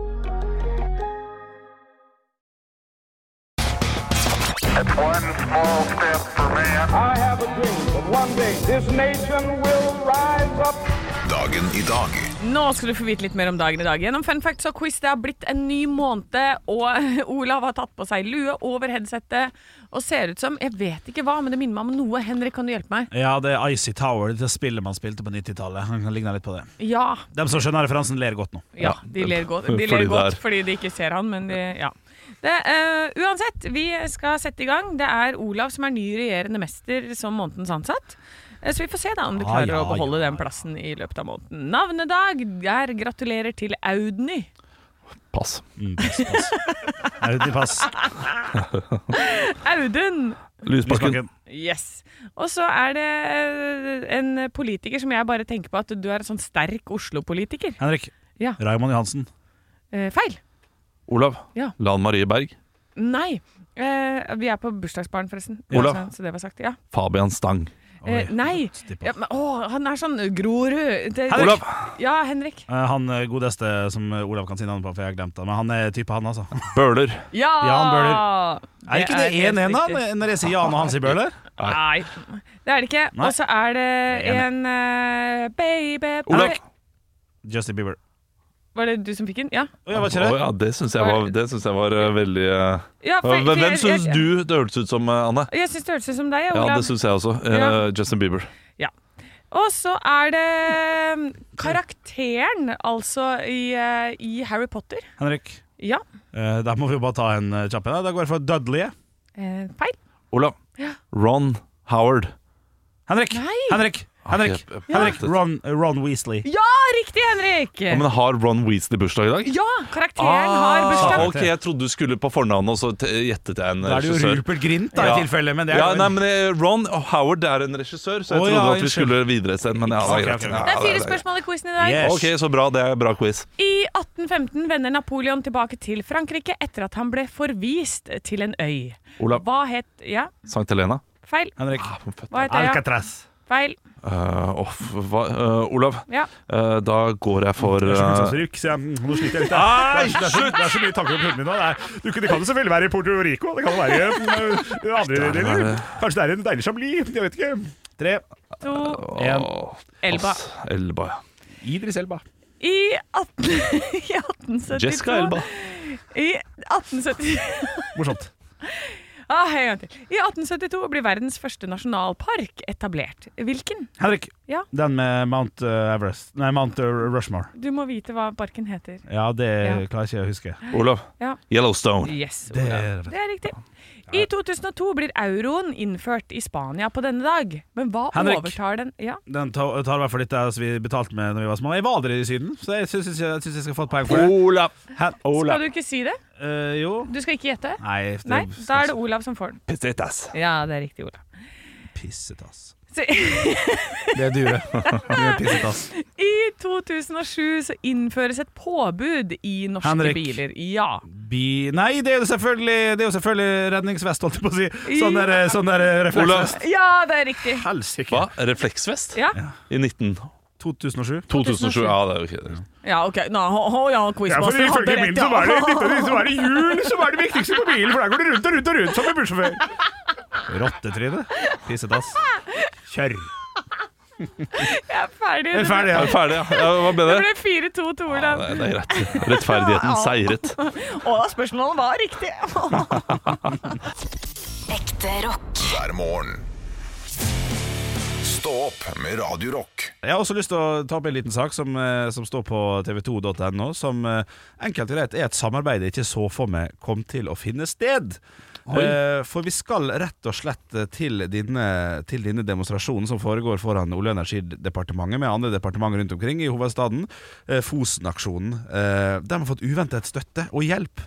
I have a dream that one day this nation will rise up.
Dagen i dag
Nå skal du få vite litt mer om dagen i dag. Gjennom fun facts og quiz, det har blitt en ny måned, og [LAUGHS] Olav har tatt på seg lue over headsettet og ser ut som Jeg vet ikke hva, men det minner meg om noe. Henrik, kan du hjelpe meg?
ja, det er Icy Tower, det spillet man spilte på 90-tallet. Han ligner litt på det.
Ja.
De som skjønner referansen, ler godt nå.
Ja, de ler godt, de
Fordi
ler
det
godt
er-
fordi de ikke ser han, men de, ja. Det, eh, uansett, vi skal sette i gang. Det er Olav som er ny regjerende mester som månedens ansatt. Eh, Så vi får se da om du
Ah,
klarer
ja,
å beholde
ja,
den plassen i løpet av måneden. Navnedag er gratulerer til Audny.
Pass.
Mm, pass, pass. Nei, de pass.
[LAUGHS]
Audun!
Lysbakken.
Lysbakken.
Yes. Og så er det eh, en politiker som jeg bare tenker på at du er en sånn sterk Oslo-politiker.
Henrik.
Ja.
Raymond Johansen.
Eh, feil.
Olav.
Ja.
Lan Marie Berg.
Nei. Eh, vi er på bursdagsbarn, forresten.
Olav.
Så, så det var sagt, ja.
Fabian Stang.
Eh,
Oi.
nei.
Stipp av.
Ja, men, å, han er sånn Grorud det-
Henrik! Olav!
Ja, Henrik.
Eh, Han eh, godeste som eh, Olav kan si navnet på, for jeg har glemt det. Men han er type han, altså.
Bøhler.
Ja!
Jan Bøhler. Er ikke det 1-1,
helt
da?
riktig.
Når jeg sier Jan og han sier Bøhler?
Nei. Det er det ikke.
Nei.
Og så er det
Jeg er
en eh, baby
Olav!
Nei,
Justin Bieber.
Var det du som fikk den? Ja.
Å, jeg var ikke
Å
det.
ja, det syns jeg var, det synes jeg var eh, veldig eh,
ja for- for
Hvem, hvem
jeg-
syns
jeg-
du det hørtes ut som, eh, Anne?
Jeg syns det hørtes ut som deg,
Ja,
Olav.
det syns jeg også. Eh,
Ja.
Justin Bieber.
Og så er det mm, karakteren, altså, i, eh, i Harry Potter.
Henrik.
Ja.
Eh, Da må vi jo bare ta en eh, kjapp en. da. Da går jeg for Dudley. jeg.
Eh, feil.
Olav. Ron Howard.
Henrik!
Nei.
Henrik! Henrik!
Ok, eh,
Henrik.
det-
Ron, Ron Weasley.
Ja, riktig, Henrik!
Ja, men har Ron Weasley bursdag i dag? Ah,
Ja, karakteren har bursdag.
Ok, jeg trodde du skulle på fornavnet, og så t- gjettet jeg en
Da er det jo
regissør.
Rupert Grint da,
Ja.
i tilfelle, men det er
Ja,
jo
nei, men eh, Ron Howard er en regissør, så jeg
Å,
trodde
ja,
at vi
unnskyld.
skulle videre et sted. Men ja, det
Ok,
er greit.
ok, ok.
Ja,
Det er
det er
fire
greit.
spørsmål i quizen i dag.
Yes.
Ok, så bra. Det er bra quiz.
I 1815 vender Napoleon tilbake til Frankrike etter at han ble forvist til en øy.
Olav.
Hva het Ja,
Sankt Helena. Ah,
feil.
Henrik.
Hva het øya?
Alcatraz.
Feil.
Eh, åh, f- hva, eh, Olav,
Ja.
eh, da går jeg for eh,
nå sliter jeg litt. Nei, slutt! Det er, så, det er så mye tanker om hodet mitt nå. Det, er, du, det kan jo selvfølgelig være i Puerto Rico. Det kan jo være i eh, andre deler. Kanskje det er en deilig Chablis. Jeg vet ikke. Tre.
To
En.
åh,
Elba.
ass, Elba, ja.
Idris Elba.
I 18... [LAUGHS] I 1872
Jessica Elba.
I [LAUGHS] 1870...
Morsomt.
Ah, en gang til. I 1872 blir verdens første nasjonalpark etablert. Hvilken?
Henrik.
Ja.
Den med Mount eh, Everest Nei, Mount eh, Rushmore.
Du må vite hva parken heter.
Ja, det
Ja.
klarer jeg ikke å huske.
Olav.
Ja.
Yellowstone.
Yes,
Det
Olav.
er-
Det er riktig. I 2002 blir euroen innført i Spania på denne dag. Men hva
Henrik.
overtar den Ja,
Den tar tar i hvert fall litt av det som vi betalte med Når vi var små. Jeg var aldri i Syden, så jeg syns jeg, synes jeg skal få et poeng for
Oh,
det.
Olav.
Hen
Skal du ikke si det?
Eh, jo.
Du skal ikke gjette?
Nei, det,
Nei, da er det Olav som får den.
Pesetas.
Ja, det er riktig, Olav.
Pisset, ass.
Så, [LAUGHS]
[LAUGHS] Det er due. Du er pisset, ass.
I 2007 så innføres et påbud i norske
Henrik.
biler. Ja.
Bi... Nei, det er jo selvfølgelig, det er jo selvfølgelig redningsvest, holdt jeg på å si. Sånn der,
Ja.
sånn der refleksvest.
ja, det er riktig.
Hva?
Helsike.
Refleksvest?
Ja,
I 19...
2007.
2007. Ja, det er jo ikke det.
ja ok. Nå, ho, ho, ja, quizmaster hadde rett. Ja.
hjul som er det viktigste på bilen, for der går det rundt og rundt og rundt som en bussjåfør. Rottetryne. Pisset, ass. Kjør.
[LAUGHS] Jeg er ferdig.
Er vi
Det ble-
ferdige?
Er vi ferdige? ja? Ja, Hva ble det?
det ble 4-2 til
Ja,
Olav.
det,
[LAUGHS]
det er greit. Rettferdigheten seiret.
Og spørsmålet var [LAUGHS] riktig.
Ekte rock.
hver morgen. Stå opp med Radio Rock.
Jeg har også lyst til å ta opp en liten sak som, eh, som står på tv2.no, som eh, enkelt og greit er et samarbeid jeg ikke så for meg kom til å finne sted.
Oi.
Eh, For vi skal rett og slett eh, til denne, til denne demonstrasjonen som foregår foran Olje- og energidepartementet med andre departementer rundt omkring i hovedstaden. Eh, Fosen-aksjonen. Eh, De har fått uventet støtte og hjelp.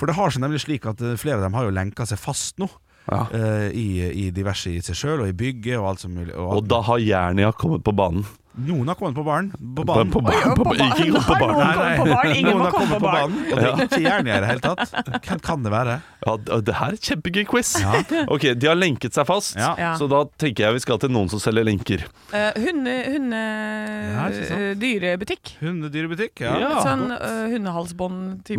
For det har seg nemlig slik at eh, flere av dem har jo lenka seg fast nå. eh, I, I diverse i seg sjøl og i bygget og alt som mulig. alt
Og da har Jernia kommet på banen.
noen har kommet på baren. På banen.
På, på, banen, på, banen. Ikke kommet på banen.
Nei, nei. Noen har kommet på
banen.
banen, Og det er ikke Jernia i det hele tatt. Hvem kan det være?
Ja, d- det her er kjempegøy quiz. Ok, De har lenket seg fast,
Ja.
så da tenker jeg vi skal til noen som selger lenker.
Eh, hunde... hunde
ikke sant.
eh, dyrebutikk.
Hundedyrebutikk,
Et sånn eh, hundehalsbånd-type.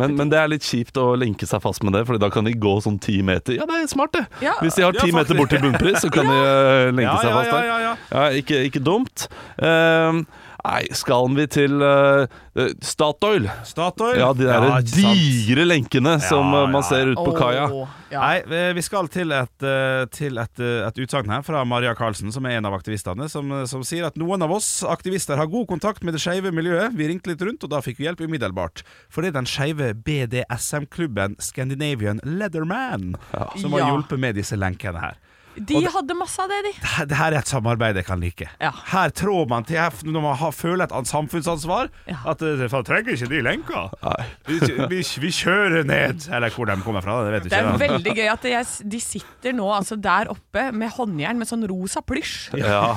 [LAUGHS] Men, men det er litt kjipt å lenke seg fast med det, Fordi da kan de gå sånn ti meter. Ja, det er smart, det!
Ja.
Hvis de har
Ja,
ti meter
faktisk.
bort til bunnpris, så kan de eh, lenke
[LAUGHS] Ja,
seg
ja,
fast der.
ja, ja,
ikke, ikke dumt. Ehm, nei, skal vi til eh, eh, Statoil?
Statoil?
Ja, de der
Ja, ikke sant.
digre lenkene som eh, man ser ut på kaia. [LAUGHS]
Nei, eh, vi skal til et, eh, til et, eh, et utsagn her fra Maria Karlsen, som er en av aktivistene, som, eh, som sier at noen av oss aktivister har god kontakt med det skeive miljøet. Vi ringte litt rundt, og da fikk vi hjelp umiddelbart. For det er den skeive BDSM-klubben Scandinavian Leatherman som har
Ja.
hjulpet med disse lenkene her.
De
Og det-
hadde masse av det, de.
her- det her er et samarbeid jeg kan like. Her trår man til her, når man har, føler et an- samfunnsansvar. At eh, faen, trenger ikke de lenka. Vi, vi, vi kjører ned. Eller hvor de kommer fra, det vet du
Det
ikke.
er
da.
veldig gøy at jeg, de sitter nå altså der oppe med håndjern med sånn rosa
[LAUGHS]
plysj.
Ja.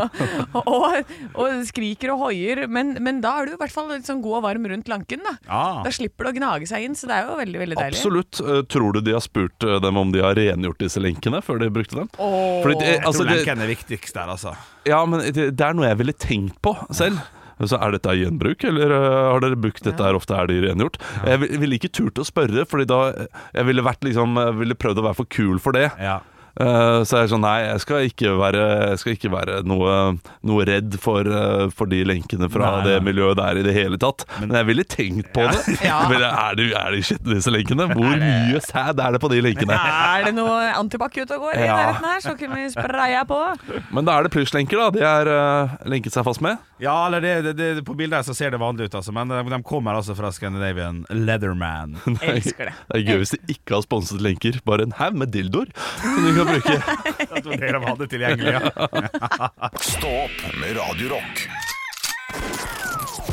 [LAUGHS] og, og skriker og hoier, men, men da er du i hvert fall litt sånn god og varm rundt lanken. Da
Ja.
Da slipper du å gnage seg inn, så det er jo veldig veldig deilig.
Absolutt. Eh, Tror du de har spurt eh, dem om de har rengjort disse lenkene før de brukte dem?
Åh.
Fordi det-
Jeg tror
altså, det-
lenken er viktigst der, altså.
Ja, men det, det er noe jeg ville tenkt på selv. Så Er dette gjenbruk, eller øh, har dere brukt dette her ofte? Er de rengjort? Jeg vil- ville ikke turt å spørre, Fordi da øh, jeg ville, vært, liksom, jeg ville prøvd å være for kul for det. Eh, så jeg er sånn, nei, jeg skal ikke være, jeg skal ikke være noe, noe redd for, eh, for de lenkene fra
Nei,
det
nei.
miljøet der i det hele tatt. Men, jeg ville tenkt på det.
Ja.
Men er det, er det shit, disse lenkene? Hvor mye sæd er det på de lenkene?
[LAUGHS] Er det noe antibac ute og går i
Ja.
nærheten her, så kunne vi spraya på.
Men da er det plysjlenker, da. De er eh, lenket seg fast med.
Ja, eller det, det, det, På bildet her så ser det vanlig ut, altså, men de, de kommer altså fra Scandinavian Leatherman.
Nei, Det er gøy hvis de ikke har sponset lenker, bare en haug med dildoer som de kan bruke.
Jeg tror dere hadde tilgjengelig, ja.
Stå opp med Radio Rock.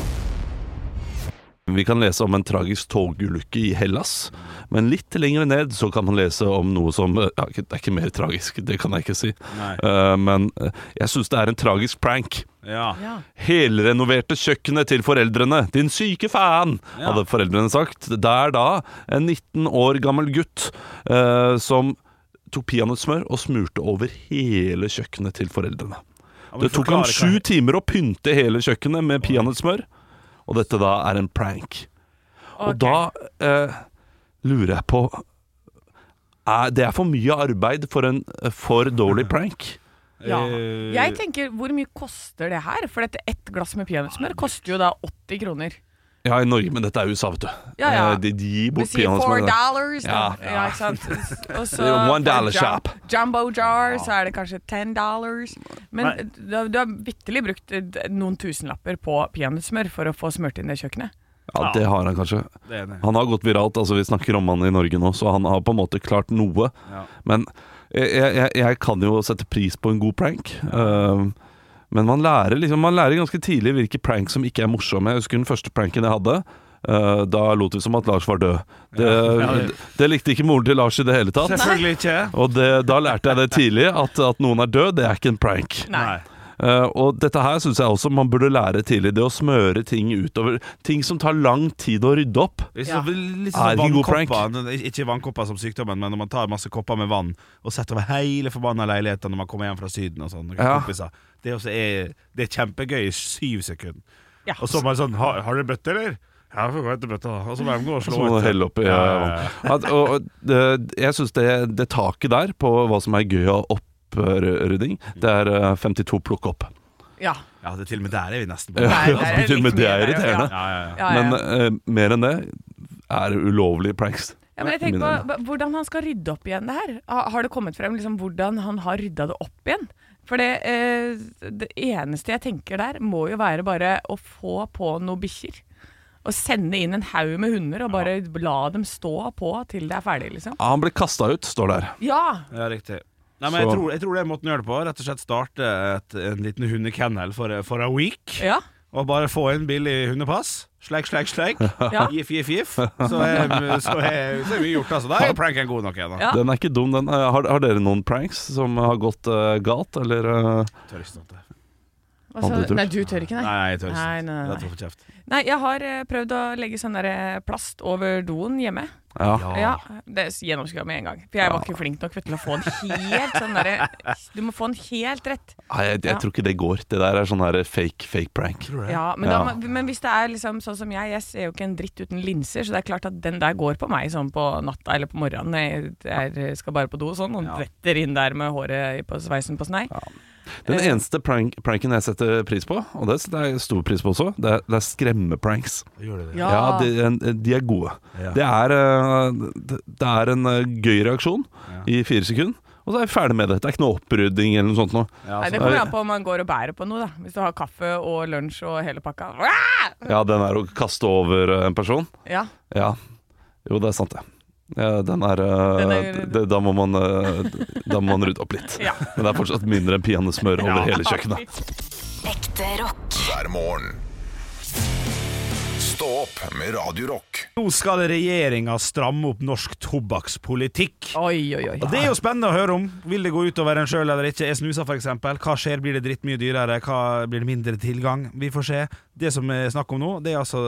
[LAUGHS] Vi kan lese om en tragisk togulykke i Hellas, men litt lenger ned så kan man lese om noe som eh, ja, ikke- Det er ikke mer tragisk, det kan jeg ikke si,
Nei.
Eh, men eh, jeg syns det er en tragisk prank.
Ja.
Helrenoverte kjøkkenet til foreldrene, din syke faen, hadde foreldrene sagt. Der da, en 19 år gammel gutt eh, som tok peanøttsmør og smurte over hele kjøkkenet til foreldrene.
Ja, men
Det tok ham
forklare
sju
hva-
timer å pynte hele kjøkkenet med peanøttsmør, og dette da er en prank. Og da eh, lurer jeg på er, Det er for mye arbeid for en eh, for
[LAUGHS]
dårlig prank.
Ja. Jeg tenker, hvor mye koster det her? For dette ett glass med peanøttsmør koster jo da 80 kroner.
Ja, i Norge, men dette er USA, vet du.
Ja, ja.
Eh, De, de gir
Vi
bort
sier four
peanøttsmør.
dollars, da. Ja,
Ja. [LAUGHS]
ikke sant. Og så
Det er jo one
for
dollar
jum-
shop.
Jumbo jar, så er det kanskje ten dollars. Men du, har- du har vitterlig brukt eh, noen tusenlapper på peanøttsmør for å få smurt inn det kjøkkenet.
Ja, det har han kanskje.
Det er det.
Han har gått viralt, altså vi snakker om han i Norge nå, så han har på en måte klart noe.
Ja.
Men jeg, jeg, jeg kan jo sette pris på en god prank. Ehm, men man lærer, liksom, man lærer ganske tidlig hvilke prank som ikke er morsomme. Jeg husker den første pranken jeg hadde. eh, da lot vi som at Lars var død. Det,
Ja.
det, det likte ikke moren til Lars i det hele
[LAUGHS]
tatt.
Selvfølgelig ikke.
Og det, da lærte jeg det tidlig, at, at noen er død, det er ikke en prank.
Nei.
Eh, og dette her syns jeg også man burde lære tidlig. Det å smøre ting utover. Ting som tar lang tid å rydde opp.
Litt sånn- litt
Er
sånn
Ah, det ikke god prank?
vannkopper. N- Ikke vannkopper som sykdommen, men når man tar masse kopper med vann og setter over hele forbanna leiligheten når man kommer hjem fra Syden og sånn. og
Ja.
kompiser. Det, også er, det er kjempegøy i syv sekunder.
Ja.
Og så bare sånn Har, har du bøtte, eller? Ja, får gå etter bøtta, da. Og så må de
[LAUGHS]
gå og slå
Så må man
etter.
helle oppi
Ja, ja, ja.
vann. At, og, og, det, jeg syns det, det taket der på hva som er gøy av opprydding, det er eh, 52 plukk opp.
Ja.
Ja, det, til og med der er vi nesten på.
[LAUGHS] Ja, altså, til og med det er irriterende.
[LAUGHS] Ja, ja, ja.
Ah, Ja, ja, ja.
Men eh, mer enn det er ulovlige pranks.
Ja, men jeg
Mine
tenker
øyne.
på b- Hvordan han skal rydde opp igjen det her. Ha- Har det kommet frem liksom hvordan han har rydda det opp igjen? For det, eh, det eneste jeg tenker der, må jo være bare å få på noen bikkjer. Og sende inn en haug med hunder og bare la dem stå på til det er ferdig, liksom.
Ja, han ble kasta ut, står der.
Ja!
Ja, riktig. Nei, men jeg
Så-
tror, jeg tror det er måten å gjøre det på. Rett og slett starte et, en liten hundekennel for, for a week.
Ja.
Og bare få inn billig hundepass. Sleik, sleik, sleik.
[LAUGHS] Ja.
Gif, gif, gif. Så er, så er, så er mye gjort, altså. Da er pranken god nok igjen. da.
Ah.
Den er ikke dum, den. Eh, Har, har dere noen pranks som har gått eh, galt, eller eh,
Hva sa
Andre
du?
tør.
Nei, du tør ikke, nei.
Nei, jeg tør ikke.
Nei, nei, nei.
Jeg tør for kjeft.
Nei, jeg har eh, prøvd å legge sånn der eh, plast over doen hjemme.
Ja.
ja Det gjennomskua med en gang. For jeg
Ah.
var ikke flink nok vet, du, til å få den helt sånn derre Du må få den helt rett.
Nei, jeg, jeg
Ja.
tror ikke det går. Det der er sånn her fake, fake prank.
Ja, men, da, må- men hvis det er liksom sånn som jeg, jeg ser jo ikke en dritt uten linser, så det er klart at den der går på meg sånn på natta eller på morgenen. Jeg, jeg skal bare på do og sånn, og detter inn der med håret i- på sveisen på snei.
Den eneste prank, pranken jeg setter pris på, og det setter jeg stor pris på også, det er, det er skremmepranks.
det?
Ja,
Ja.
de, en- de er gode.
Ja.
Det, er, eh, det- det er en eh, gøy reaksjon i fire sekunder, og så er jeg ferdig med det. Det er ikke noe opprydding eller noe sånt noe.
Nei, det kommer an på om man går og bærer på noe, da. Hvis du har kaffe og lunsj og hele pakka.
Ja, den er å kaste over eh, en person.
Ja.
Ja. Jo, det er sant, det. Ja, den er, eh,
Den er-
det, Da må man eh, Da må man rydde opp litt.
Ja.
Men det er fortsatt mindre enn peanøttsmør over hele kjøkkenet.
Ekte rock.
hver morgen. Stå opp med Radio Rock.
Nå skal regjeringa stramme opp norsk tobakkspolitikk.
Oi, oi, oi.
Og Det er jo spennende å høre om. Vil det gå utover en sjøl eller ikke? Er snusa, f.eks.? Hva skjer? Blir det drittmye dyrere? Hva Blir det mindre tilgang? Vi får se. Det som er snakk om nå, det er altså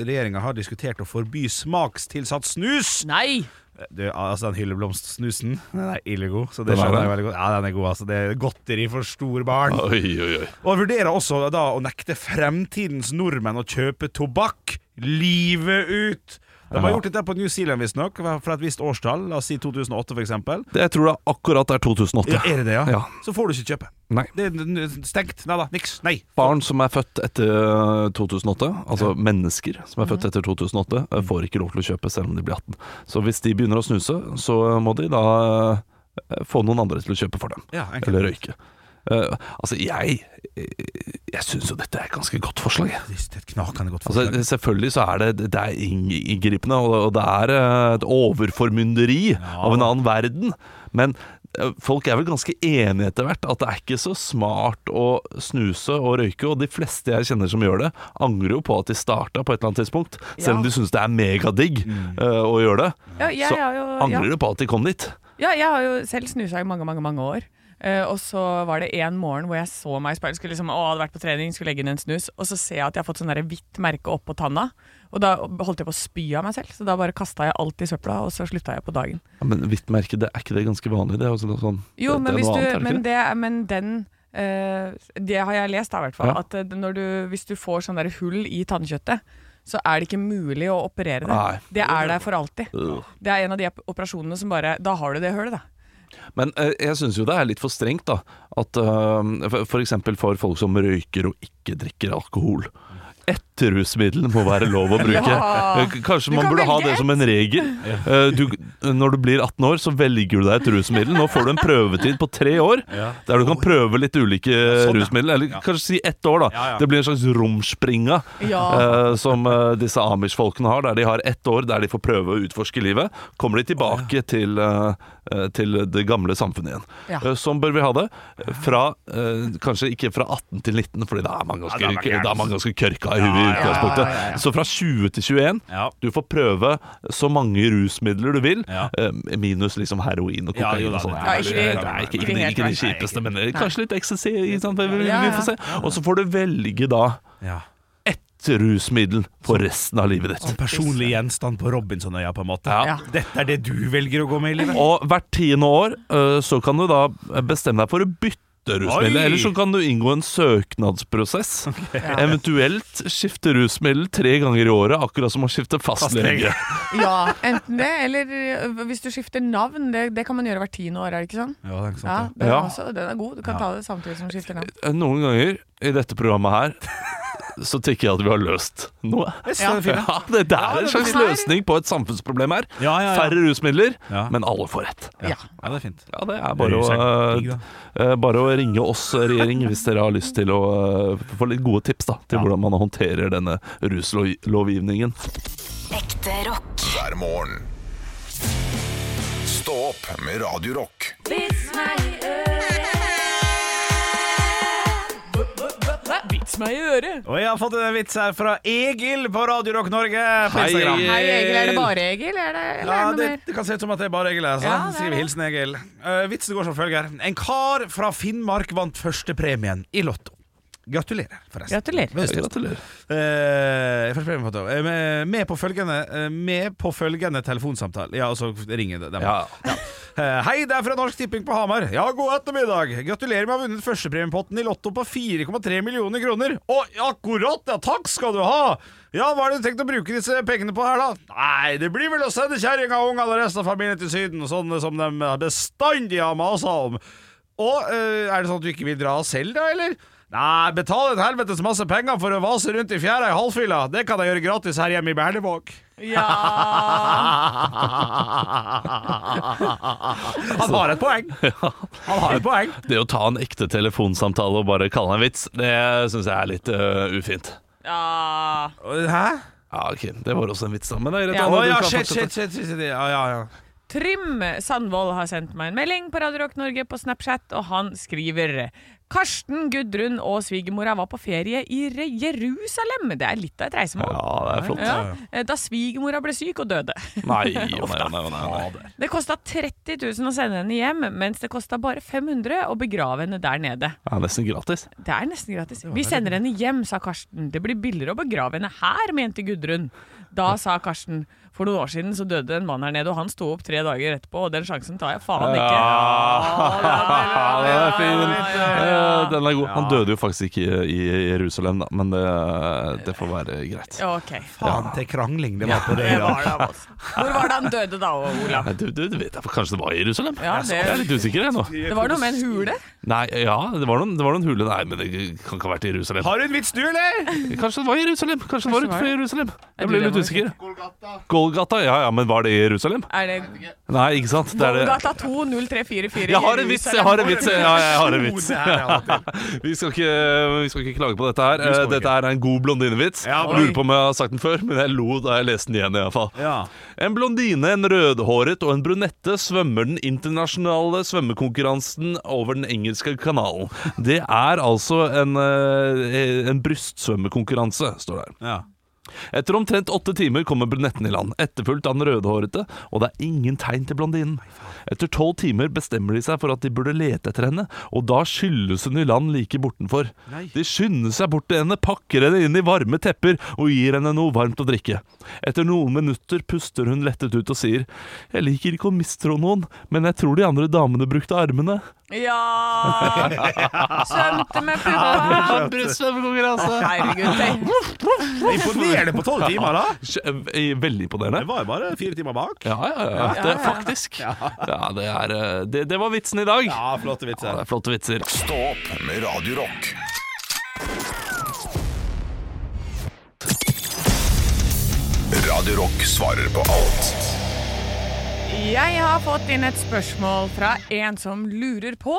regjeringa har diskutert å forby smakstilsatt snus.
Nei!
Du, altså Den hylleblomstsnusen Den er ille god. Så det
Den er
skjønner jeg
det?
veldig godt. Ja, den er god, altså. Det er godteri for store barn.
Oi, oi, oi.
Og vurderer også da å nekte fremtidens nordmenn å kjøpe tobakk livet ut. De har
Ja.
gjort dette på New Zealand, visstnok, fra et visst årstall, la oss si 2008 f.eks.
Det, jeg tror det akkurat er 2008.
Ja, er det det, ja?
ja.
Så får du ikke kjøpe.
Nei.
Det er n- n- stengt. Nei da, niks. Nei.
Barn som er født etter eh, 2008, altså mennesker som er født etter 2008, eh, får ikke lov til å kjøpe selv om de blir 18. Så hvis de begynner å snuse, så må de da eh, få noen andre til å kjøpe for dem.
Ja, enkelt.
Eller røyke. Eh, altså, jeg Jeg syns jo dette er et ganske godt forslag. jeg.
Det er et knakende godt forslag.
Altså, selvfølgelig så er det Det er inngripende, og og det er eh, et overformynderi av en annen verden. Men eh, folk er vel ganske enige etter hvert at det er ikke så smart å snuse og røyke. Og de fleste jeg kjenner som gjør det, angrer jo på at de starta på et eller annet tidspunkt. Selv om
Ja.
de syns det er megadigg eh, å gjøre det,
Ja, jeg
så
har jo- ja.
angrer de på at de kom dit.
Ja, jeg har jo selv snusa i mange, mange, mange år. Eh, og så var det en morgen hvor jeg så meg i speilet. Skulle liksom, å, hadde vært på trening, skulle legge inn en snus. Og så ser jeg at jeg har fått sånn der hvitt merke oppå tanna. Og da holdt jeg på å spy av meg selv, så da bare kasta jeg alt i søpla, og så slutta jeg på dagen.
Ja, men hvitt merke, det er ikke det ganske vanlig? Det er jo sånn, sånn
Jo,
det,
men,
det er
hvis
noe
du,
annet, er det ikke
men,
det?
det, men den eh, Det har jeg lest, da, i hvert fall.
Ja.
At eh, når du, hvis du får sånn der hull i tannkjøttet, så er det ikke mulig å operere det.
Nei.
Det er der for alltid.
Øh.
Det er en av de operasjonene som bare Da har du det hullet, da.
Men eh, jeg syns jo det er litt for strengt, da. At eh, for- for eksempel for folk som røyker og ikke drikker alkohol. Ett rusmiddel må være
[LAUGHS]
lov å bruke.
Ja.
Eh, k- Kanskje
Du
man
kan
burde ha
velge
det
ett.
som en regel. Eh, Du, når du blir 18 år, så velger du deg et rusmiddel. Nå får du en prøvetid på tre år,
Ja. sånn,
der du kan prøve litt ulike rusmidler. Eller kanskje si ett år, da.
ja.
Det blir en slags romspringa
Ja.
[LAUGHS] eh, som eh, disse Amish-folkene har, der de har ett år der de får prøve å utforske livet. Kommer de tilbake til, eh, eh, til det gamle samfunnet igjen.
Ja.
Eh, Sånn bør vi ha det. Fra, eh, kanskje ikke fra 18 til 19, Fordi da er man ganske,
Ja, da er man gæren.
da er man ganske kørka i huet i
Ja, ja, ja,
utgangspunktet.
ja, ja, ja.
Så fra 20 til 21 Du får prøve så mange rusmidler du vil, eh, minus liksom heroin og
Ja,
kokain.
jo da,
og
det
sånt.
er- Ja, ikke de-
Nei, ikke,
ikke
ikke,
de helt
ikke de
verste.
kjipeste, men eh,
Nei.
kanskje litt ecstasy. ikke sant? Vi, vi,
Ja,
vi
ja.
får se. Og så får du velge da ett rusmiddel for resten av livet ditt.
Sånn personlig gjenstand på Robinsonøya, på en måte. Dette er det du velger å gå med i livet.
Og hvert tiende år øh, så kan du da bestemme deg for å bytte rusmiddel.
Oi!
Eller så kan du inngå en søknadsprosess. Eventuelt skifte rusmiddel tre ganger i året, akkurat som å skifte fastlege.
Ja, enten det, eller ø, hvis du skifter navn. Det, det kan man gjøre hvert tiende år, er det ikke sånn?
Ja, det er ikke sant,
ja,
det.
den, er
Ja. Eh,
Også, den er god. Du kan ta det samtidig som du skifter navn.
Noen ganger i dette programmet her så tenker jeg at vi har løst noe.
Jeg synes
Ja,
den er fin, ja.
det der
Ja,
er
den
en
er
slags
fin.
løsning på et samfunnsproblem her.
ja, ja.
Færre rusmidler, men alle får rett.
Ja. det er fint.
Ja, det er bare å, eh, bare å ringe oss, regjering, hvis dere har lyst til å eh, få litt gode tips da, til hvordan man håndterer denne ruslovgivningen.
Ekte rock.
hver morgen. Stå opp med Radio Rock.
Vits meg i øret.
Vits meg i øret.
Og jeg har fått en vits her fra Egil på Radio Rock Norge på
Hei,
Instagram.
Egil. Hei, Egil.
Er det bare Egil, er det,
Ja,
eller er det noe
det,
mer?
det kan se ut som at det er bare Egil. Altså.
Ja, det er
Skriver hilsen Egil. Eh, vitsen går som følger. En kar fra Finnmark vant førstepremien i Lotto. Gratulerer, forresten.
Gratulerer.
Med stort.
Gratulerer.
Eh, førstepremien på Lotto. Eh, med- med, på følgende, eh, med på følgende telefonsamtale Ja, og så ringer det dem.
Ja.
Eh, Hei, det er fra Norsk Tipping på Hamar. Ja, god ettermiddag. Gratulerer med å ha vunnet førstepremiepotten i Lotto på 4,3 millioner kroner. Å, akkurat, ja. Takk skal du ha. Ja, hva er det du tenkt å bruke disse pengene på her, da? Nei, det blir vel å sende kjerringa og ungene og resten av familien til Syden, sånn som de bestandig har masa om. Og eh, er det sånn at du ikke vil dra selv, da, eller? Nei, betal en helvetes masse penger for å vase rundt i fjæra i halvfylla. Det kan jeg gjøre gratis her hjemme i Berlevåg. [LAUGHS] Han har et
[LAUGHS]
poeng. Han har et poeng.
Det å ta en ekte telefonsamtale og bare kalle det en vits, det syns jeg er litt eh, ufint.
Ja.
Hæ?
Ja, ok, det var også en vits, da. Men det er greit.
Ja,
Anna,
å,
du
ja,
kan
shit,
fortsette.
shit, shit, shit, shit. Ja, ja, ja.
Trym Sandvold har sendt meg en melding på Radio Rock Norge på Snapchat, og han skriver Karsten, Gudrun og svigermora var på ferie i Re- Jerusalem. Det er litt av et reisemål.
Ja, det er flott.
Ja, Da svigermora ble syk og døde.
Nei, å nei, å nei, å nei, å nei.
Det kosta 30 000 å sende henne hjem, mens det kosta bare 500 å begrave henne der nede.
Ja, nesten gratis.
Det er nesten gratis. Vi sender henne hjem, sa Karsten. Det blir billigere å begrave henne her, mente Gudrun. Da sa Karsten. For noen år siden så døde en mann her nede, og han sto opp tre dager etterpå, og den sjansen tar jeg faen ikke.
Ja, den er fin. Eh, Den er god. Han døde jo faktisk ikke i i Jerusalem, da, men det, det får være greit.
Ja, ok.
Faen til krangling det var på det.
Det
da.
var det, altså. Hvor var det han døde da, Olav?
Nei, Du, du, du vet jeg, Kanskje det var i Jerusalem?
Ja, det-
Jeg er litt usikker jeg nå.
Det var noe med en hule.
Nei, ja, det var, noen, det var noen hule Nei, men det kan ikke ha vært i Jerusalem.
[LAUGHS] Har du en vits, du, eller?
Kanskje det var i Jerusalem? Kanskje det var utenfor Jerusalem?
Er
Jeg ble
du det,
litt usikker. Golgata? Ja ja, men var det i Jerusalem?
Er det
Nei, ikke sant? Det er det.
Golgata 20344?
Jeg har en vits! Jeg har en vits! Ja, jeg har en vits.
[LAUGHS] Det her er alt
Vi skal ikke, vi skal ikke klage på dette her. Eh, Dette her er en god blondinevits.
Ja, bra.
Lurer på om jeg har sagt den før, men jeg lo da jeg leste den igjen. i hvert fall
Ja.
En blondine, en rødhåret og en brunette svømmer den internasjonale svømmekonkurransen over den engelske kanalen. Det er altså en, eh, en brystsvømmekonkurranse, står det her.
Ja.
Etter omtrent åtte timer kommer brunetten i land, etterfulgt av den rødhårete, og det er ingen tegn til blondinen. Etter tolv timer bestemmer de seg for at de burde lete etter henne, og da skyldes hun i land like bortenfor. De skynder seg bort til henne, pakker henne inn i varme tepper og gir henne noe varmt å drikke. Etter noen minutter puster hun lettet ut og sier Jeg liker ikke å mistro noen, men jeg tror de andre damene brukte armene.
Ja! Svømte med puppa! altså.
Brystsvømmekonkurranse!
Herregud, tenk.
Imponerende på tolv timer, [LAUGHS] da.
eh, Veldig imponerende.
Det var jo bare fire timer bak.
Ja, ja, ja. Det, faktisk. Ja, det, er, eh, det, det var vitsen i dag. Ja,
Ja, flotte vitser.
det er flotte vitser.
Stå opp med Radio Rock. Radio Rock svarer på alt
Jeg har fått inn et spørsmål fra en som lurer på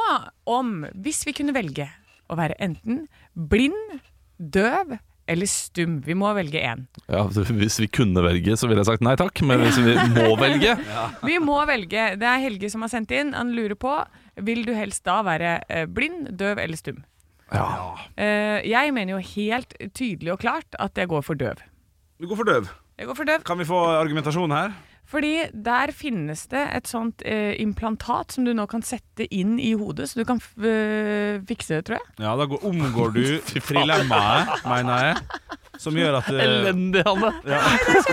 om hvis vi kunne velge å være enten blind, døv eller stum. Vi må velge én.
Ja, hvis vi kunne velge, så ville jeg sagt nei takk, men hvis vi må velge
Vi må velge. Det er Helge som har sendt inn. Han lurer på vil du helst da være eh, blind, døv eller stum.
Ja,
Eh, Jeg mener jo helt tydelig og klart at jeg går for døv.
Du går for døv.
Jeg går for døv
Kan vi få argumentasjon her?
fordi der finnes det et sånt eh, implantat som du nå kan sette inn i hodet, så du kan f eh, fikse det, tror jeg.
Ja, da går, omgår du [LAUGHS] trilemmaet, mener jeg. Som gjør at eh,
Elendig, Hanne.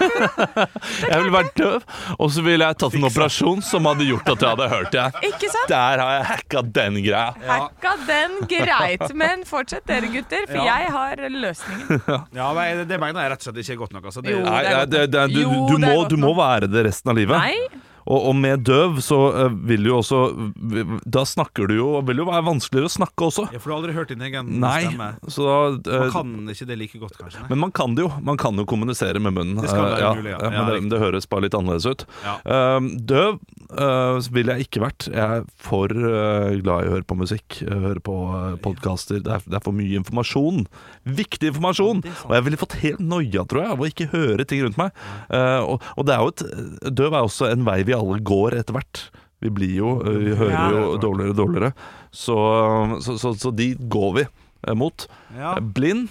[LAUGHS] Jeg ville vært døv, og så ville jeg tatt en operasjon som hadde gjort at jeg hadde hørt det.
Ikke sant?
Der har jeg hacka den greia.
Hacka den greit, men fortsett dere gutter, for jeg har løsningen.
Ja, nei, det- det mener jeg rett og slett ikke er godt nok. Altså. Det,
Jo.
Nei, nei, det, det, du, du,
Jo, det er
må,
godt
du må
nok.
være det resten av livet.
Nei,
Og, og med døv så eh, vil du jo også Da snakker du jo Vil jo være vanskeligere å snakke også.
Ja, for du har aldri hørt din egen
Nei,
stemme.
så da,
Man
eh,
kan ikke det like godt, kanskje.
Men man kan det jo. Man kan jo kommunisere med munnen.
Det skal
Eh,
være
ja,
mulig, ja.
eh,
Ja,
Men det, det høres bare litt annerledes ut. Eh, døv eh, ville jeg ikke vært. Jeg er for eh, glad i å høre på musikk, eh, høre på uh, podkaster. Det, er- det er for mye informasjon. Viktig informasjon! Og jeg ville fått helt noia, tror jeg, av å ikke høre ting rundt meg. Eh, og, og det er jo et Døv er også en vei vi alle går etter hvert. Vi blir jo eh, Vi hører
Ja.
jo dårligere og dårligere. Så, så, så, så de går vi eh, mot.
Ja.
Eh, Blind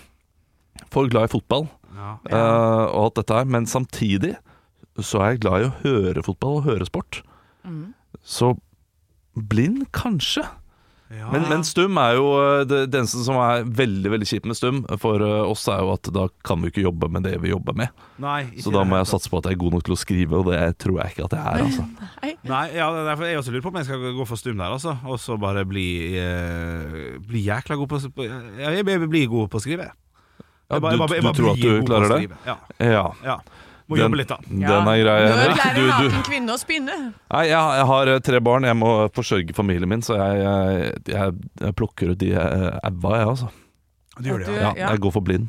for glad i fotball
Ja.
eh, og alt dette her, men samtidig så er jeg glad i å høre fotball og høre sport.
Mm.
Så blind, kanskje.
Ja.
Men, men stum er jo eh, det, det eneste som er veldig veldig kjipt med stum for eh, oss, er jo at da kan vi ikke jobbe med det vi jobber med.
Nei, ikke
så da
det
må
hele
jeg satse på at jeg er god nok til å skrive, og det tror jeg ikke at jeg er. altså
Nei, ja, det er derfor jeg også lurer på om jeg skal gå for stum der, altså. Og så bare bli, eh, bli jækla god på på- ja, Jeg blir blir god på å skrive. jeg.
Ja,
Jeg bare-
du,
jeg bare- jeg
du
bare
tror at
blir
du
god på å
klarer det?
skrive. Ja.
Ja.
Ja. Må
Den-
jobbe litt, da.
Den er grei, Henrik.
Lærer en
Du, du,
naken kvinne å spinne.
Nei, jeg, jeg har eh, tre barn. Jeg må forsørge familien min, så jeg, jeg, jeg, jeg plukker ut de eh, æva, jeg, altså.
Du gjør det,
ja.
ja.
ja. Jeg går for blind.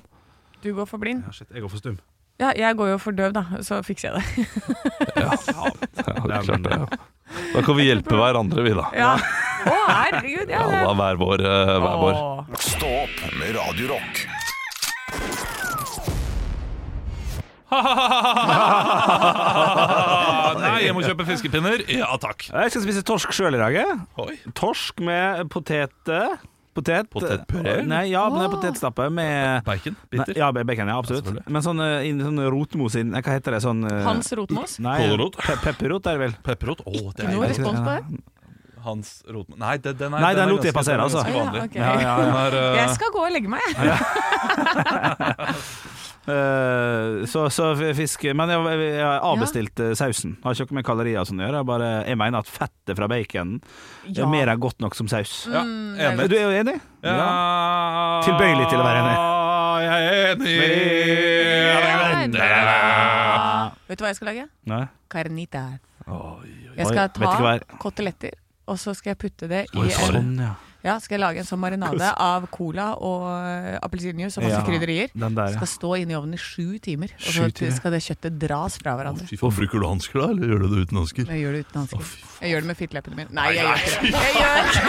Du går for blind.
Ja, shit, jeg går for stum.
Ja, jeg går jo for døv, da. Så fikser jeg det.
[LAUGHS]
Ja, det er klart det. Ja. Da kan vi hjelpe hverandre, vi, da.
Ja. Å, herregud. Ja,
Alle
det
har hver vår. eh, Hver vår.
Stå opp med Radio Rock.
Nei, jeg må kjøpe fiskepinner. Ja takk.
Jeg skal spise torsk sjøl i dag. jeg. Torsk med potet Potet
Potetpuré?
Nei, ja, men det er potetstappe med
Bacon?
Nei, ja, be- bacon, ja, absolutt. Men sånn, eh, inn- sånn rotmos inn Hva heter det? Sånn eh,
Hans Rotmos?
Nei,
Kålrot?
pe pepperrot er det vel.
Pepperrot? Å, det
Ikke noe
er
respons på
Hans Rotmann Nei, det- den er
Nei, den
er
lot jeg
ganske-
passere,
den er
altså.
ganske vanlig.
ok. Ja, ja,
Den er, eh,
Jeg skal gå og legge meg, jeg.
Eh, så, så fisk Men jeg, jeg, jeg avbestilte sausen. Har ikke noe med kalorier og sånn å gjøre. Jeg, bare, jeg mener at fettet fra baconen
Ja.
er
Mm,
mer enn godt nok som saus.
Ja, enig.
Du er jo enig?
Ja.
Tilbøyelig til å være enig.
Ah, jeg er enig.
Vet du hva jeg skal lage?
Nei.
Carnita.
oi.
Jeg skal
Vet ikke hva
ta koteletter, og så skal jeg putte det i en
Sånn, ja.
ja, skal jeg lage en sånn marinade av cola og eh, appelsinjuice og masse
Ja,
krydderier.
den der, ja.
Skal stå inne i ovnen i sju timer, og så
Sju timer.
skal det kjøttet dras fra hverandre.
Fy faen, Bruker du hansker da, eller gjør du det uten hansker?
Jeg gjør det uten hansker. Jeg gjør det med fitteleppene mine. Nei, jeg gjør ikke det. Jeg gjør ikke det.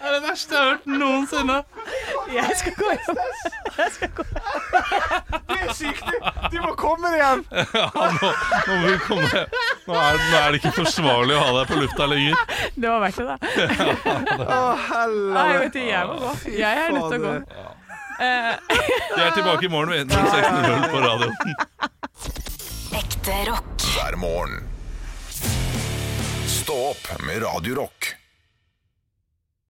Det er det verste jeg har hørt noensinne.
Jeg skal gå hjem. Jeg skal gå
Det er sykt, du! Du må komme deg hjem!
Ja, nå, nå må vi komme nå er, nå er det ikke forsvarlig å ha deg på lufta lenger.
Det var verdt det, da.
Å,
Nei,
helvete.
vet du, jeg må gå. Jeg er nødt til å gå. Eh,
Vi er tilbake i morgen ved 16.00 på radioen.
Ekte rock.
Hver morgen. Stå opp med Radio Rock.